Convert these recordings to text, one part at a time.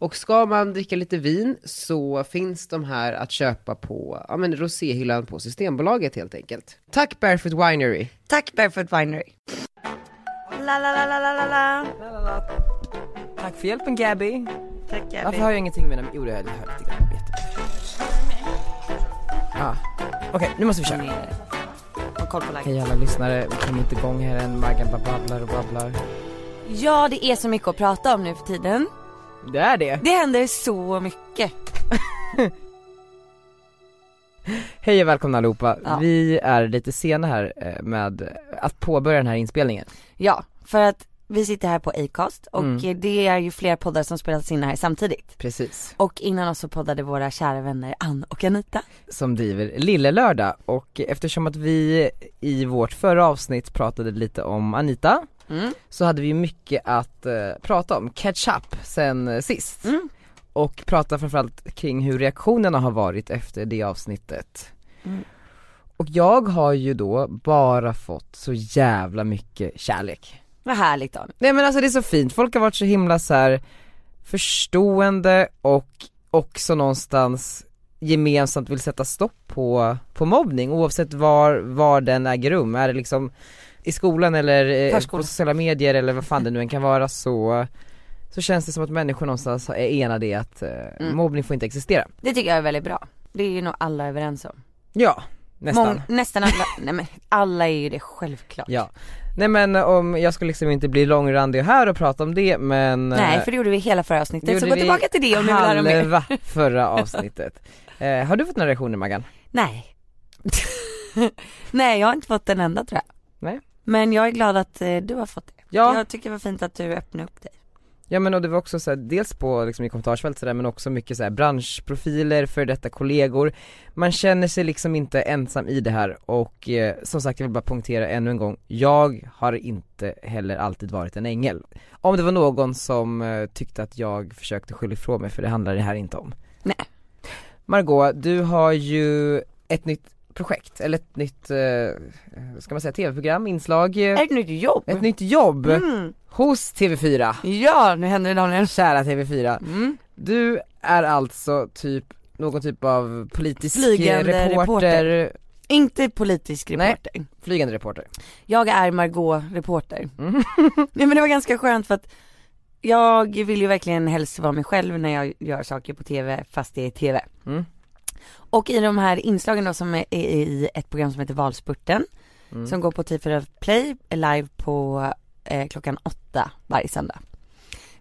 Och ska man dricka lite vin så finns de här att köpa på ja, men roséhyllan på Systembolaget helt enkelt. Tack Barefoot Winery! Tack Barefoot Winery. La, la, la, la, la, la, la. Tack för hjälpen Gabby! Tack Gabby. Varför hör jag ingenting med den? Jo det hör jag det hör jag lite grann. Jättebra. Ah. Okej, nu måste vi köra. Hej Ha koll på läget. alla lyssnare, vi kommer inte igång här än. Maggan bara babblar och babblar. Ja, det är så mycket att prata om nu för tiden. Det är det! Det händer så mycket. Hej och välkomna allihopa. Ja. Vi är lite sena här eh, med att påbörja den här inspelningen. Ja, för att vi sitter här på Acast och Mm. eh, det är ju fler poddar som spelas in här samtidigt. Precis. Och innan oss så poddade våra kära vänner Ann och Anita. Som driver Lille Lördag och eftersom att vi i vårt förra avsnitt pratade lite om Anita Mm. så hade vi mycket att eh, prata om, catch up sen eh, sist. Mm. Och prata framförallt kring hur reaktionerna har varit efter det avsnittet. Mm. Och jag har ju då bara fått så jävla mycket kärlek. Vad härligt Ann. Nej men alltså det är så fint, folk har varit så himla så här förstående och också någonstans gemensamt vill sätta stopp på, på mobbning oavsett var, var den äger rum. Är det liksom i skolan eller eh, Förskolan. på sociala medier eller vad fan det nu än kan vara så, så känns det som att människor någonstans är enade i att eh, Mm. mobbning får inte existera. Det tycker jag är väldigt bra. Det är ju nog alla överens om. Ja, nästan. Mång- nästan alla, nej men alla är ju det självklart. Ja. Nej men om, jag ska liksom inte bli långrandig här och prata om det men eh, Nej för det gjorde vi hela förra Det avsnittet, gjorde så gå vi tillbaka till det om ni vill höra mer. halva förra avsnittet. Eh, har du fått några reaktioner Maggan? Nej. nej jag har inte fått en enda tror jag. Nej. Men jag är glad att eh, du har fått det. Ja, Jag tycker det var fint att du öppnade upp dig. ja men och det var också så här, dels på liksom i kommentarsfält sådär men också mycket så här branschprofiler, för detta kollegor. Man känner sig liksom inte ensam i det här och eh, som sagt jag vill bara punktera ännu en gång, jag har inte heller alltid varit en ängel. Om det var någon som eh, tyckte att jag försökte skylla ifrån mig för det handlar det här inte om. Nej. Margot, du har ju ett nytt projekt, eller ett nytt, eh, ska man säga tv-program, inslag, eh, Är det ett nytt jobb? ett nytt jobb Mm. hos TV4. Ja, nu händer det Daniel. Kära TV4. Mm. Du är alltså typ någon typ av politisk Flygande eh, reporter, reporter. Inte politisk Nej. reporter. flygande reporter. Jag är Margot reporter. Mm. Nej men det var ganska skönt för att jag vill ju verkligen helst vara mig själv när jag gör saker på tv fast det är tv. Mm. Och i de här inslagen då som är är i ett program som heter Valspurten Mm. som går på TV4 Play är live på eh, klockan åtta varje söndag.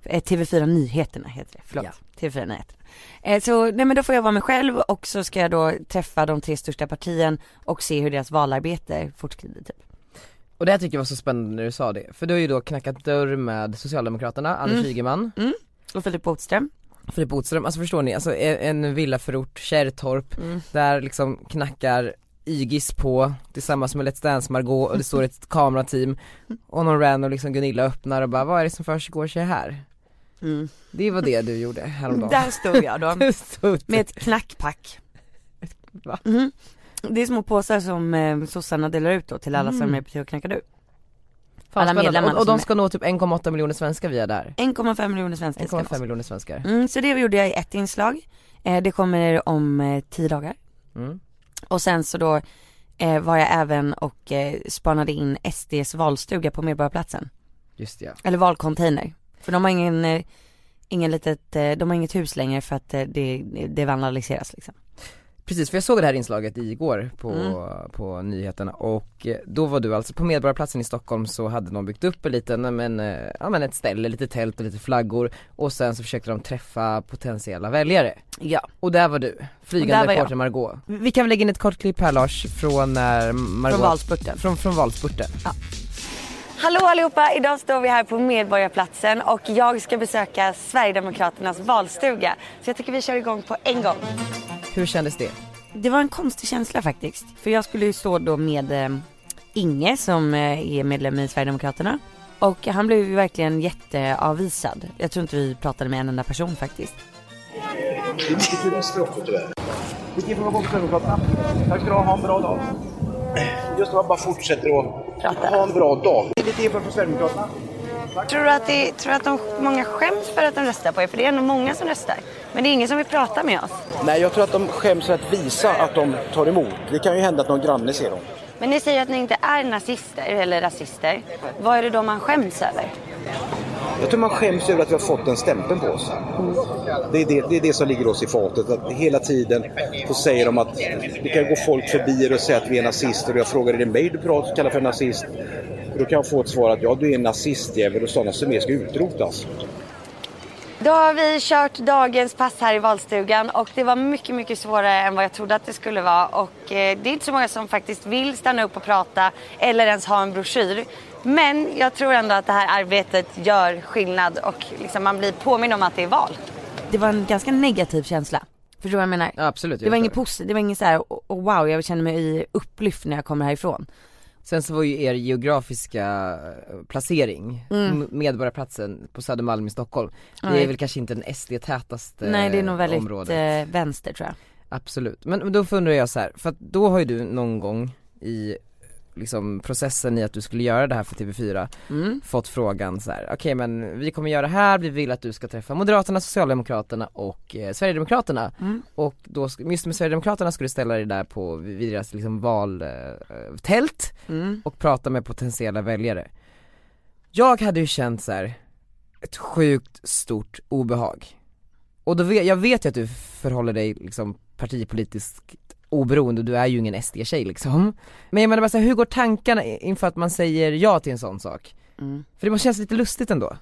Eh, TV4 Nyheterna heter det, förlåt. Ja. TV4 Nyheterna. Eh, så nej men då får jag vara mig själv och så ska jag då träffa de tre största partien och se hur deras valarbete fortskrider typ. Och det här tycker jag var så spännande när du sa det, för du har ju då knackat dörr med Socialdemokraterna, Anders Mm. Ygeman, Och Filip Botström. Filip Botström, alltså förstår ni, alltså en en villaförort, Kärrtorp, där liksom knackar Ygis på tillsammans med Let's Dance Margot och det står ett kamerateam och någon random liksom Gunilla öppnar och bara vad är det som försiggår sig här? Mm. Det var det du gjorde häromdagen. Där stod jag då Du stod med ett knackpack. Va? Mm. Det är små påsar som eh, sossarna delar ut då till alla som Mm. är på och knackar du. Fan, alla spännande. medlemmar och, och de som är- ska nå typ 1,8 miljoner svenskar via det här. 1,5 miljoner svenskar ska 1,5 nås. miljoner svenskar. Mm, så det gjorde jag i ett inslag. Eh, det kommer om eh, tio dagar. Mm. Och sen så då eh, var jag även och eh, spanade in SDs valstuga på Medborgarplatsen. Just det, ja. Eller valcontainer. För de har ingen, eh, ingen litet, eh, de har inget hus längre för att eh, det, det vandaliseras liksom. Precis, för jag såg det här inslaget igår på, Mm. på nyheterna och eh, då var du alltså på Medborgarplatsen i Stockholm så hade någon byggt upp en liten, eh, men, eh, ja men ett ställe, lite tält och lite flaggor och sen så försökte de träffa potentiella väljare. Ja. Och där var du, Och där flygande var reporter jag. Margot. Vi kan väl lägga in ett kort klipp här Lars från när Margot Från valspurten. från, från valspurten. Ja. Hallå allihopa! Idag står vi här på Medborgarplatsen och jag ska besöka Sverigedemokraternas valstuga. Så jag tycker vi kör igång på en gång. Hur kändes det? Det var en konstig känsla faktiskt. För jag skulle ju stå då med eh, Inge som eh, är medlem i Sverigedemokraterna. Och han blev ju verkligen jätteavvisad. Jag tror inte vi pratade med en enda person faktiskt. Sverigedemokraterna. Tack ska du ha, ha en bra dag. Just det, man bara fortsätter att ha en bra dag. Lite inför för Sverigedemokraterna. Tror du att, det, tror du att de, många skäms för att de röstar på er? För det är ändå många som röstar. Men det är ingen som vill prata med oss. Nej, jag tror att de skäms för att visa att de tar emot. Det kan ju hända att någon granne ser dem. Men ni säger att ni inte är nazister eller rasister. Vad är det då man skäms över? Jag tror man skäms över att vi har fått den stämpeln på oss. Det är det, det är det som ligger oss i fatet. Att hela tiden så säger de att det kan gå folk förbi och säga att vi är nazister. Och jag frågar, är det mig du pratar kallar för nazist? Och då kan jag få ett svar att ja, du är en nazistjävel och sådana som är ska utrotas. Då har vi kört dagens pass här i valstugan och det var mycket, mycket svårare än vad jag trodde att det skulle vara. Och eh, det är inte så många som faktiskt vill stanna upp och prata eller ens ha en broschyr. Men jag tror ändå att det här arbetet gör skillnad och liksom man blir påminn om att det är val. Det var en ganska negativ känsla. Förstår du vad jag menar? Ja, absolut. jag Det var förstår inget positivt, det var inget så här, oh, oh, wow, jag känner mig upplyft när jag kommer härifrån. Sen så var ju er geografiska eh, placering, mm. Medborgarplatsen på Södermalm i Stockholm, det Nej. är väl kanske inte den SD-tätaste Nej, det är nog väldigt Eh, området. eh, vänster tror jag. Absolut, men men då undrar jag så här, för att då har ju du någon gång i liksom processen i att du skulle göra det här för TV4 fått frågan så här: okej men vi kommer göra det här, vi vill att du ska träffa Moderaterna, Socialdemokraterna och eh, Sverigedemokraterna och då, sk- just med Sverigedemokraterna skulle du ställa dig där på, vid deras liksom valtält och prata med potentiella väljare Jag hade ju känt så här ett sjukt stort obehag och då vet, jag vet ju att du förhåller dig liksom partipolitiskt oberoende, du är ju ingen SD-tjej liksom. Men jag menar bara så här, hur går tankarna i- inför att man säger ja till en sån sak? För det måste kännas lite lustigt ändå.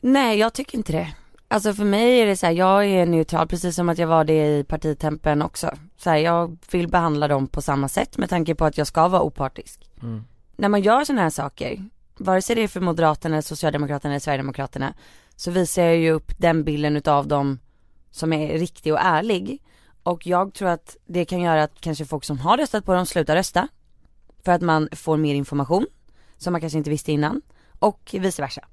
Nej, jag tycker inte det. Alltså för mig är det så här, jag är neutral precis som att jag var det i partitempen också. Så här, jag vill behandla dem på samma sätt med tanke på att jag ska vara opartisk. När man gör sådana här saker, vare sig det är för Moderaterna, eller Socialdemokraterna eller Sverigedemokraterna, så visar jag ju upp den bilden utav dem som är riktig och ärlig. Och jag tror att det kan göra att kanske folk som har röstat på dem slutar rösta. För att man får mer information som man kanske inte visste innan. Och vice versa.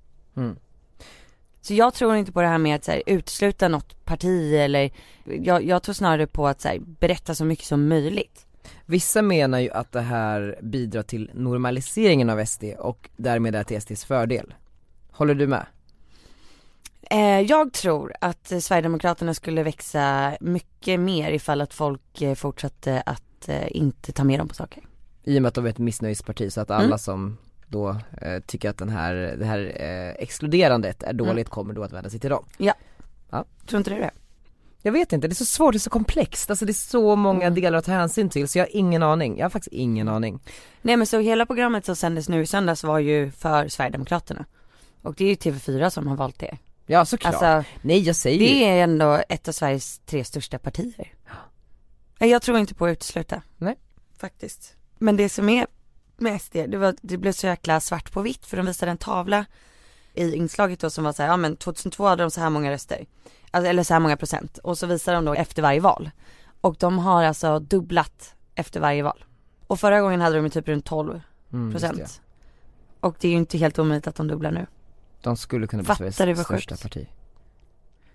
Så jag tror inte på det här med att så här, utesluta något parti eller, jag, jag tror snarare på att så här, berätta så mycket som möjligt. Vissa menar ju att det här bidrar till normaliseringen av SD och därmed är till SDs fördel. Håller du med? Eh, jag tror att eh, Sverigedemokraterna skulle växa mycket mer ifall att folk eh, fortsatte att eh, inte ta med dem på saker. I och med att de är ett missnöjesparti så att alla Mm. som då eh, tycker att den här, det här eh, exkluderandet är dåligt kommer då att vända sig till dem. Tror inte du det? Jag vet inte, det är så svårt, det är så komplext, alltså det är så många Mm. delar att ta hänsyn till så jag har ingen aning, jag har faktiskt ingen aning. Nej men så hela programmet som sändes nu i söndags var ju för Sverigedemokraterna. Och det är ju TV4 som har valt det. Ja såklart. Alltså Nej jag säger ju, det är ändå ett av Sveriges tre största partier. Nej, Jag tror inte på att utesluta. Nej. Faktiskt. Men det som är med SD, det, var, det blev så jäkla svart på vitt för de visade en tavla i inslaget då som var så här, ja men 2002 hade de så här många röster. Alltså, eller så här många procent. Och så visar de då efter varje val. Och de har alltså dubblat efter varje val. Och förra gången hade de ju typ runt 12 Mm, just procent. det. Och det är ju inte helt omöjligt att de dubblar nu. de skulle kunna bli Fattar du Sveriges vad sjukt? största parti.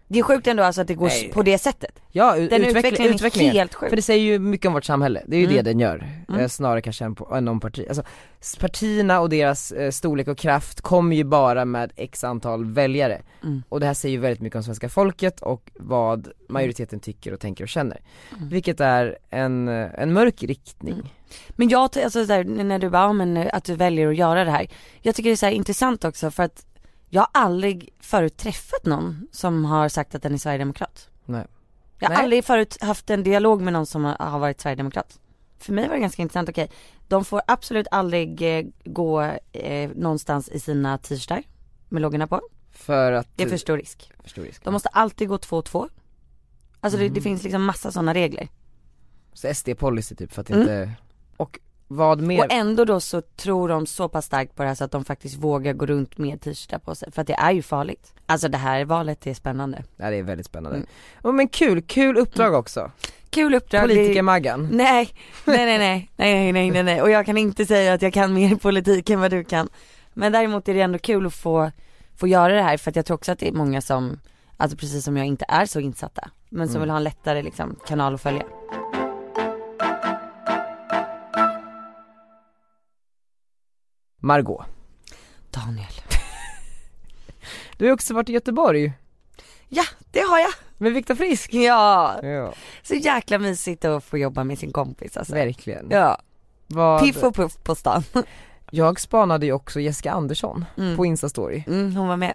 Det är sjukt ändå alltså att det går Nej. på det sättet. Ja, u- Den utveckling, utvecklingen är utvecklingen, helt sjuk. För det säger ju mycket om vårt samhälle, det är ju Mm. det den gör. Eh, Snarare kanske än, på, än om parti. Alltså, s- partierna och deras eh, storlek och kraft kommer ju bara med x antal väljare. Mm. Och det här säger ju väldigt mycket om svenska folket och vad majoriteten tycker och tänker och känner. Mm. Vilket är en, eh, en mörk riktning. Men jag, ty- alltså så här, när du bara, ja, men eh, att du väljer att göra det här. Jag tycker det är så här intressant också för att jag har aldrig förut träffat någon som har sagt att den är sverigedemokrat. Nej. Jag har Nej. aldrig förut haft en dialog med någon som har- har varit sverigedemokrat. För mig var det ganska intressant, okej, de får absolut aldrig eh, gå eh, någonstans i sina t-shirtar med loggorna på. För att, Det är för stor risk. för stor risk. De måste alltid gå två och två. Mm. Alltså det, det finns liksom massa sådana regler. Så SD-policy typ för att Mm. inte, och vad mer? Och ändå då så tror de så pass starkt på det här så att de faktiskt vågar gå runt med t-shirtar på sig. För att det är ju farligt. Alltså det här valet är spännande. Ja det är väldigt spännande. Oh, men kul, kul uppdrag också. Kul uppdrag. Mm. det- Politiker-Maggan. Nej, nej, nej, nej, nej, nej, nej, nej. Och jag kan inte säga att jag kan mer politik än vad du kan. Men däremot är det ändå kul att få, få göra det här för att jag tror också att det är många som, alltså precis som jag inte är så insatta. Men som vill ha en lättare liksom, kanal att följa. Margot. Daniel. Du har också varit i Göteborg Ja, det har jag. med Viktor Frisk. Ja, Ja, så jäkla mysigt att få jobba med sin kompis alltså. verkligen. Ja, Vad... piff och puff på stan. Jag spanade ju också Jessica Andersson Mm. på Instastory. Mm, hon var med.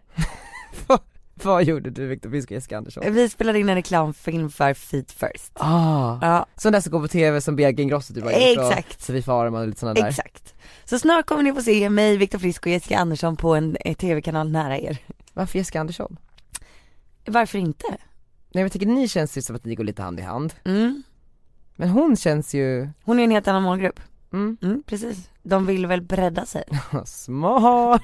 Vad gjorde du Viktor Frisk och Jessica Andersson? Vi spelade in en reklamfilm för Feet First. Ah, Ja, sån där som går på tv som Bianca Ingrosso typ har gjort och exakt. Sofie Farman och lite såna där. Exakt. Så snart kommer ni få se mig, Viktor Frisk och Jessica Andersson på en eh, tv-kanal nära er. Varför Jessica Andersson? Varför inte? Nej men jag tycker ni känns ju som att ni går lite hand i hand. Mm. Men hon känns ju, Hon är en helt annan målgrupp. mm, Mm, precis. De vill väl bredda sig. smart.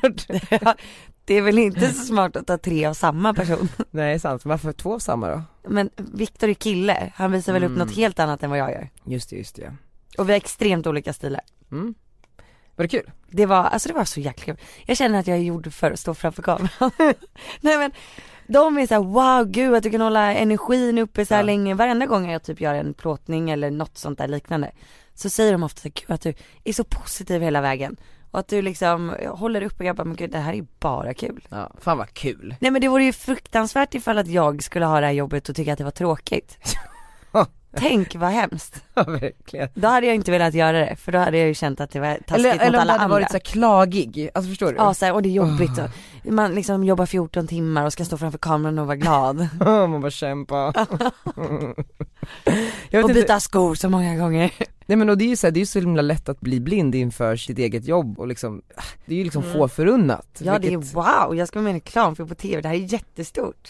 Det är väl inte så smart att ta tre av samma person. Nej sant, varför två av samma då? Men Viktor är kille, han visar väl upp Mm. något helt annat än vad jag gör. Just det, just det. Och vi har extremt olika stilar. Mm. Var det kul? Det var, alltså det var så jäkla kul. Jag känner att jag är gjord för att stå framför kameran. Nej men, de är såhär wow gud att du kan hålla energin uppe så här Ja. länge. Varenda gång jag typ gör en plåtning eller något sånt där liknande. Så säger de ofta så här, gud att du är så positiv hela vägen. Och att du liksom håller uppe och jag bara, men gud det här är ju bara kul. Ja, fan vad kul. Nej men det vore ju fruktansvärt ifall att jag skulle ha det här jobbet och tycka att det var tråkigt. Tänk vad hemskt. Ja verkligen. Då hade jag inte velat göra det för då hade jag ju känt att det var taskigt Eller, mot alla eller om andra. det hade varit så här klagig, alltså förstår du? Ja såhär, och det är jobbigt och man liksom jobbar 14 timmar och ska stå framför kameran och vara glad. Man bara kämpa. jag vet och inte, byta skor så många gånger. nej men och det är ju så, här, det är ju så himla lätt att bli blind inför sitt eget jobb och liksom, det är ju liksom få förunnat. Mm. Ja det är vilket- wow, jag ska vara med i en reklamfilm på tv, det här är jättestort.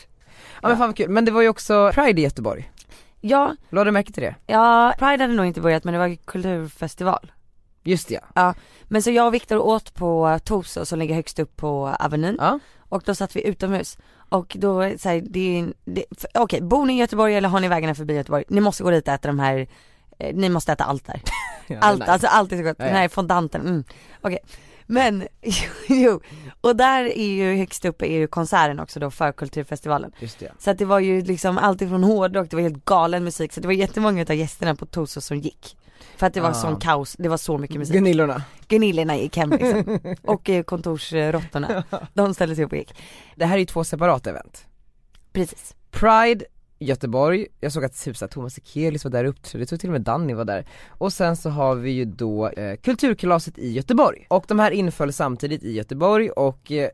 ja men fan vad kul, men det var ju också Pride i Göteborg, Ja, lade du märke till det? ja, Pride hade nog inte börjat men det var ju kulturfestival. Just det ja. Men så jag och Viktor åt på Toso som ligger högst upp på Avenyn ja. och då satt vi utomhus. Och då såhär, det är, det- f- okej, bor ni i Göteborg eller har ni vägarna förbi Göteborg? Ni måste gå dit och äta de här, eh, ni måste äta allt där. Ja, Allt, nej. alltså allt är så gott. Ja, Den ja. här fondanten, mm. Okej. Men, jo. Och där är ju högst uppe är ju konserten också då för kulturfestivalen. Just det. Så att det var ju liksom allt ifrån hårdrock, det var helt galen musik. Så det var jättemånga utav gästerna på Toso som gick. För att det var Ah. sån kaos, det var så mycket musik. Gunillorna. Gunillorna gick hem liksom. Och eh, kontorsråttorna, de ställde sig upp och gick. Det här är ju två separata event. Precis. Pride, Göteborg, jag såg att typ så här, Thomas Ekelius var där och uppträdde, jag tror till och med Danny var där. Och sen så har vi ju då eh, Kulturkalaset i Göteborg. Och de här inföll samtidigt i Göteborg och eh,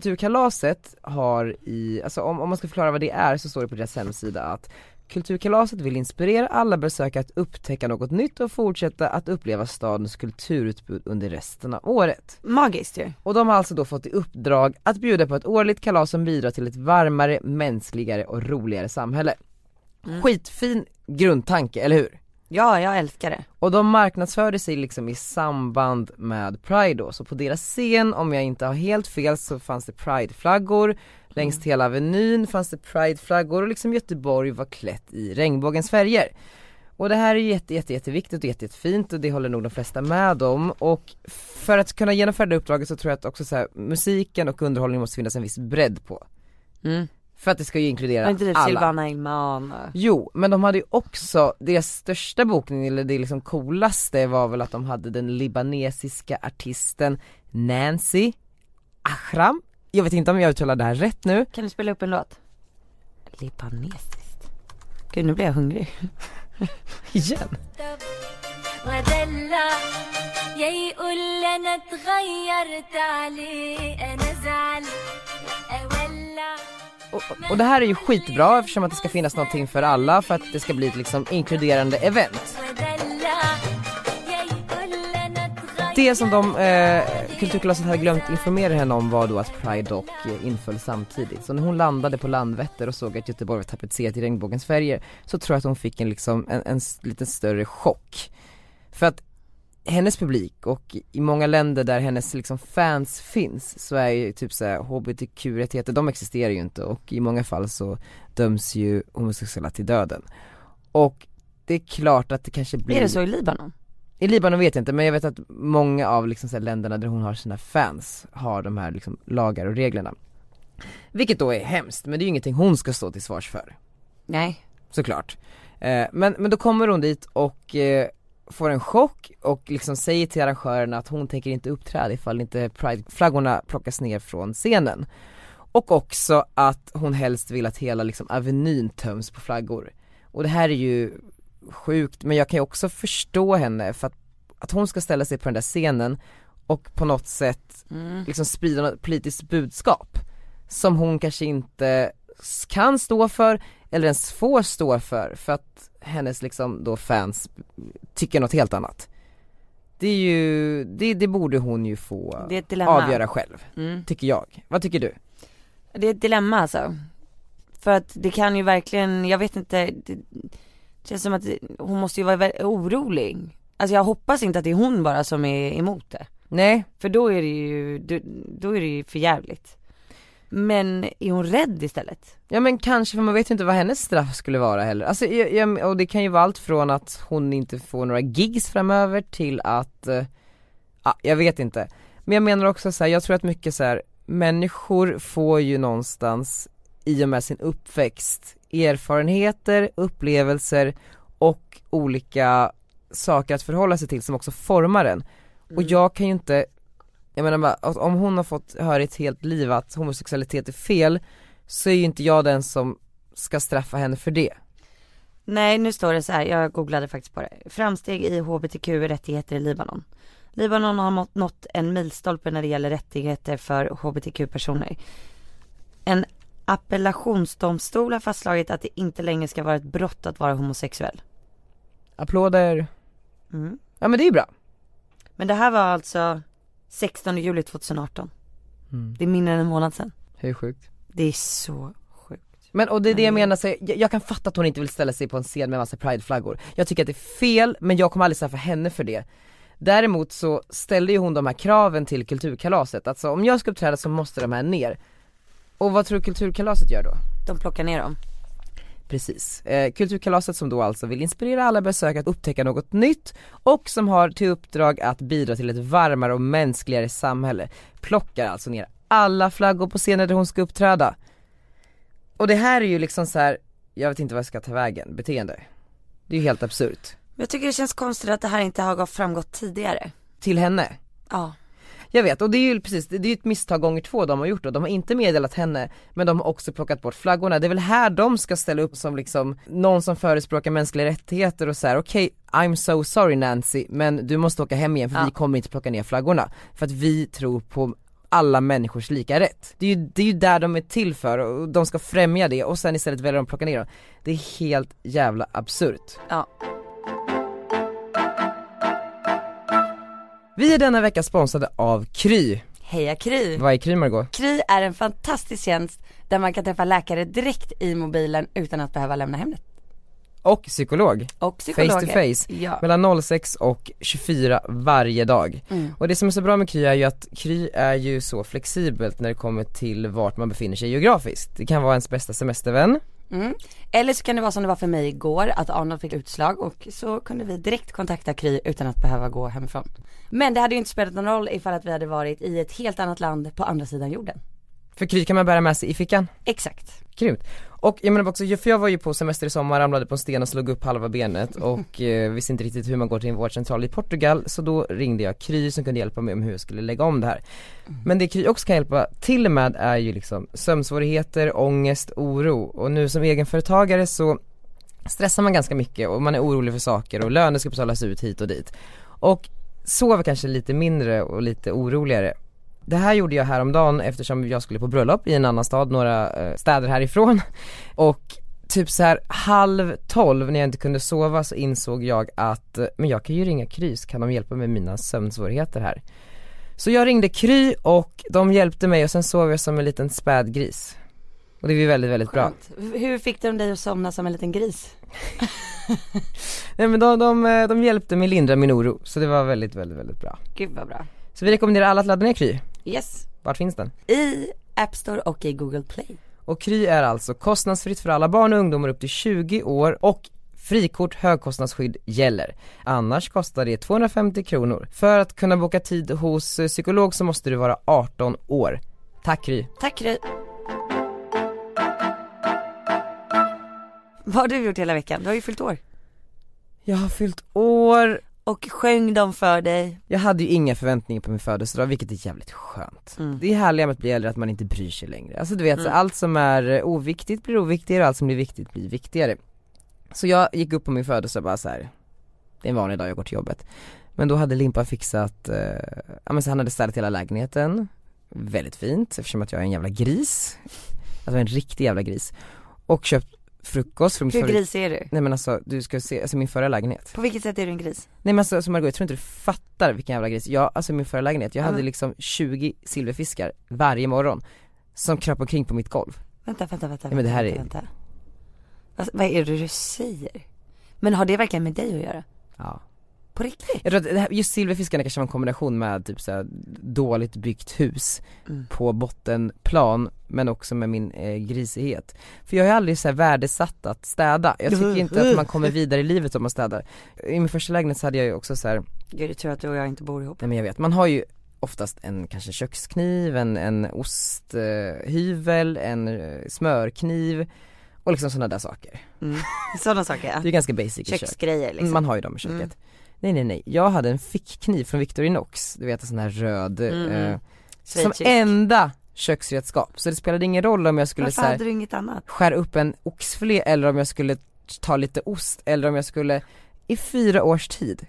Kulturkalaset har i, alltså om, om man ska förklara vad det är så står det på deras hemsida att Kulturkalaset vill inspirera alla besökare att upptäcka något nytt och fortsätta att uppleva stadens kulturutbud under resten av året. Magiskt ju. Och de har alltså då fått i uppdrag att bjuda på ett årligt kalas som bidrar till ett varmare, mänskligare och roligare samhälle. Skitfin grundtanke, eller hur? Ja, jag älskar det. Och de marknadsförde sig liksom i samband med Pride då, så på deras scen, om jag inte har helt fel, så fanns det Pride-flaggor, längs Mm. hela Avenyn fanns det Pride-flaggor och liksom Göteborg var klätt i regnbågens färger. Och det här är ju jätte, jätte, jätteviktigt och jätte, jättefint och det håller nog de flesta med om och för att kunna genomföra det uppdraget så tror jag att också så här, musiken och underhållningen måste finnas en viss bredd på. Mm. För att det ska ju inkludera Och inte typ alla. Silvana Ilman och... Jo, men de hade ju också, deras största bokning, eller det liksom coolaste var väl att de hade den libanesiska artisten Nancy Ahram. Jag vet inte om jag uttalar det här rätt nu. Kan du spela upp en låt? Libanesiskt. Gud nu blir jag hungrig. Igen. ودلع يا يقول لي انا اتغيرت عليه انا زعل اولع Och, och det här är ju skitbra eftersom att det ska finnas någonting för alla för att det ska bli ett liksom inkluderande event. ودلع يا يقول لي انا اتغيرت Det som de, eh, Kulturkalaset hade glömt informera henne om var då att Pride Dock eh, inföll samtidigt. Så när hon landade på Landvetter och såg att Göteborg var tapetserat i regnbågens färger så tror jag att hon fick en liksom, en, en s- lite större chock. För att hennes publik och i många länder där hennes liksom fans finns så är ju typ så här hbtq-rättigheter, de existerar ju inte och i många fall så döms ju homosexuella till döden. Och det är klart att det kanske blir Är det så i Libanon? i Libanon vet jag inte men jag vet att många av liksom så här länderna där hon har sina fans har de här liksom lagar och reglerna. Vilket då är hemskt men det är ju ingenting hon ska stå till svars för Nej. såklart. Eh, men, men då kommer hon dit och eh, får en chock och liksom säger till arrangörerna att hon tänker inte uppträda ifall inte prideflaggorna plockas ner från scenen. Och också att hon helst vill att hela liksom avenyn töms på flaggor. Och det här är ju sjukt men jag kan ju också förstå henne för att, att hon ska ställa sig på den där scenen och på något sätt Mm. liksom sprida något politiskt budskap som hon kanske inte s- kan stå för eller ens får stå för för att hennes liksom då fans tycker något helt annat. Det är ju, det, det borde hon ju få Det är ett dilemma. avgöra själv, Mm. tycker jag. Vad tycker du? Det är ett dilemma alltså. För att det kan ju verkligen, jag vet inte, det känns som att det- hon måste ju vara vä- orolig. Alltså jag hoppas inte att det är hon bara som är emot det. Nej, För då är det ju, då- då är det ju för jävligt. Men är hon rädd istället? ja men kanske för man vet ju inte vad hennes straff skulle vara heller. Alltså, jag, jag, och det kan ju vara allt från att hon inte får några gigs framöver till att, eh, ja, jag vet inte. Men jag menar också så här, jag tror att mycket så här, människor får ju någonstans i och med sin uppväxt erfarenheter, upplevelser och olika saker att förhålla sig till som också formar en. Och jag kan ju inte, jag menar bara, att om hon har fått höra i ett helt liv att homosexualitet är fel så är ju inte jag den som ska straffa henne för det. Nej, nu står det så här, jag googlade faktiskt på det. Framsteg i hbtq-rättigheter i Libanon. Libanon har mått- nått en milstolpe när det gäller rättigheter för hbtq-personer. En appellationsdomstol har fastslagit att det inte längre ska vara ett brott att vara homosexuell. Applåder, Mm. ja men det är ju bra. Men det här var alltså 16 juli 2018. Mm. Det är mindre än en månad sedan. Hur sjukt. Det är Mm. så sjukt. Men och det är det jag menar, så jag, jag kan fatta att hon inte vill ställa sig på en scen med massa prideflaggor. Jag tycker att det är fel, men jag kommer aldrig straffa henne för det. Däremot så ställer ju hon de här kraven till kulturkalaset, alltså om jag ska uppträda så måste de här ner. Och vad tror du kulturkalaset gör då? De plockar ner dem. Precis. Eh, Kulturkalaset som då alltså vill inspirera alla besökare att upptäcka något nytt och som har till uppdrag att bidra till ett varmare och mänskligare samhälle plockar alltså ner alla flaggor på scener där hon ska uppträda. Och det här är ju liksom så här, jag vet inte vad jag ska ta vägen, beteende. Det är ju helt absurt. Men jag tycker det känns konstigt att det här inte har framgått tidigare. Till henne. Ja. Jag vet, och det är ju precis, det det är ju ett misstag gånger två de har gjort då. De har inte meddelat henne, men de har också plockat bort flaggorna. Det är väl här de ska ställa upp som liksom någon som förespråkar mänskliga rättigheter och så här: okej, I'm so sorry Nancy, men du måste åka hem igen för Ja. vi kommer inte plocka ner flaggorna. För att vi tror på alla människors lika rätt. Det är ju, det är ju där de är till för och de ska främja det och sen istället väljer de att plocka ner dem. Det är helt jävla absurt. Ja. Vi är denna vecka sponsrade av Kry. Heja Kry! Vad är Kry Margot? Kry är en fantastisk tjänst där man kan träffa läkare direkt i mobilen utan att behöva lämna hemmet. Och psykolog. Och Face psykologer. to face. Ja. Mellan 06 och 24 varje dag. Mm. Och det som är så bra med Kry är ju att Kry är ju så flexibelt när det kommer till vart man befinner sig geografiskt. Det kan vara ens bästa semestervän. Mm. Eller så kan det vara som det var för mig igår, att Arnold fick utslag och så kunde vi direkt kontakta Kry utan att behöva gå hemifrån. Men det hade ju inte spelat någon roll ifall att vi hade varit i ett helt annat land på andra sidan jorden. För Kry kan man bära med sig i fickan. Exakt. Grymt. Och jag menar också, för jag var ju på semester i sommar, ramlade på en sten och slog upp halva benet och eh, visste inte riktigt hur man går till en vårdcentral i Portugal så då ringde jag Kry som kunde hjälpa mig om hur jag skulle lägga om det här. Men det Kry också kan hjälpa till med är ju liksom sömnsvårigheter, ångest, oro och nu som egenföretagare så stressar man ganska mycket och man är orolig för saker och löner ska betalas ut hit och dit. Och sover kanske lite mindre och lite oroligare. Det här gjorde jag häromdagen eftersom jag skulle på bröllop i en annan stad, några eh, städer härifrån. Och typ så här halv tolv när jag inte kunde sova så insåg jag att, eh, men jag kan ju ringa Krys, kan de hjälpa mig med mina sömnsvårigheter här? Så jag ringde Kry och de hjälpte mig och sen sov jag som en liten spädgris. Och det var ju väldigt, väldigt bra. Skönt. Hur fick de dig att somna som en liten gris? Nej men de, de, eh, de hjälpte mig lindra min oro, så det var väldigt, väldigt, väldigt bra. Gud vad bra. Så vi rekommenderar alla att ladda ner Kry. Yes. Vart finns den? I App Store och i Google Play. Och Kry är alltså kostnadsfritt för alla barn och ungdomar upp till 20 år och frikort högkostnadsskydd gäller. Annars kostar det 250 kronor. För att kunna boka tid hos eh, psykolog så måste du vara 18 år. Tack Kry. Tack Ry. Vad har du gjort hela veckan? Du har ju fyllt år. Jag har fyllt år, Och sjöng de för dig. jag hade ju inga förväntningar på min födelsedag vilket är jävligt skönt. Mm. Det är härliga med att bli äldre att man inte bryr sig längre. Alltså du vet, så allt som är eh, oviktigt blir oviktigare och allt som blir viktigt blir viktigare. Så jag gick upp på min födelsedag bara så här. det är en vanlig dag jag går till jobbet. Men då hade Limpa fixat, eh, ja men så han hade städat hela lägenheten, väldigt fint eftersom att jag är en jävla gris. Alltså en riktig jävla gris. Och köpt frukost för mitt Hur förra- gris är du? Nej men alltså du ska se, alltså min förra lägenhet. På vilket sätt är du en gris? Nej men alltså, som Margot, jag tror inte du fattar vilken jävla gris, jag, alltså min förra lägenhet, jag hade liksom 20 silverfiskar varje morgon Som kröp omkring på mitt golv Vänta, vänta, vänta. men det här vänta, är- vänta. Vad, vad är det du säger? Men har det verkligen med dig att göra? Ja På riktigt? Jag tror att det här, just silverfiskarna kanske var en kombination med typ såhär dåligt byggt hus på bottenplan men också med min eh, grisighet. För jag har ju aldrig så här värdesatt att städa, jag tycker inte att man kommer vidare i livet om man städar. I min första lägenhet så hade jag ju också så här Gud, det tror att du och jag inte bor ihop. Nej men jag vet, man har ju oftast en kanske kökskniv, en, en osthyvel, en eh, smörkniv och liksom sådana där saker. Sådana saker. Det är ganska basic i kök. Köksgrejer liksom. Man har ju dem i köket. Nej nej nej, jag hade en fickkniv från Victorinox, du vet en sån här röd, Mm. eh, som Schweizisk. enda köksredskap. Så det spelade ingen roll om jag skulle Varför så här, hade du inget annat? skära upp en oxfilé eller om jag skulle ta lite ost eller om jag skulle, i fyra års tid.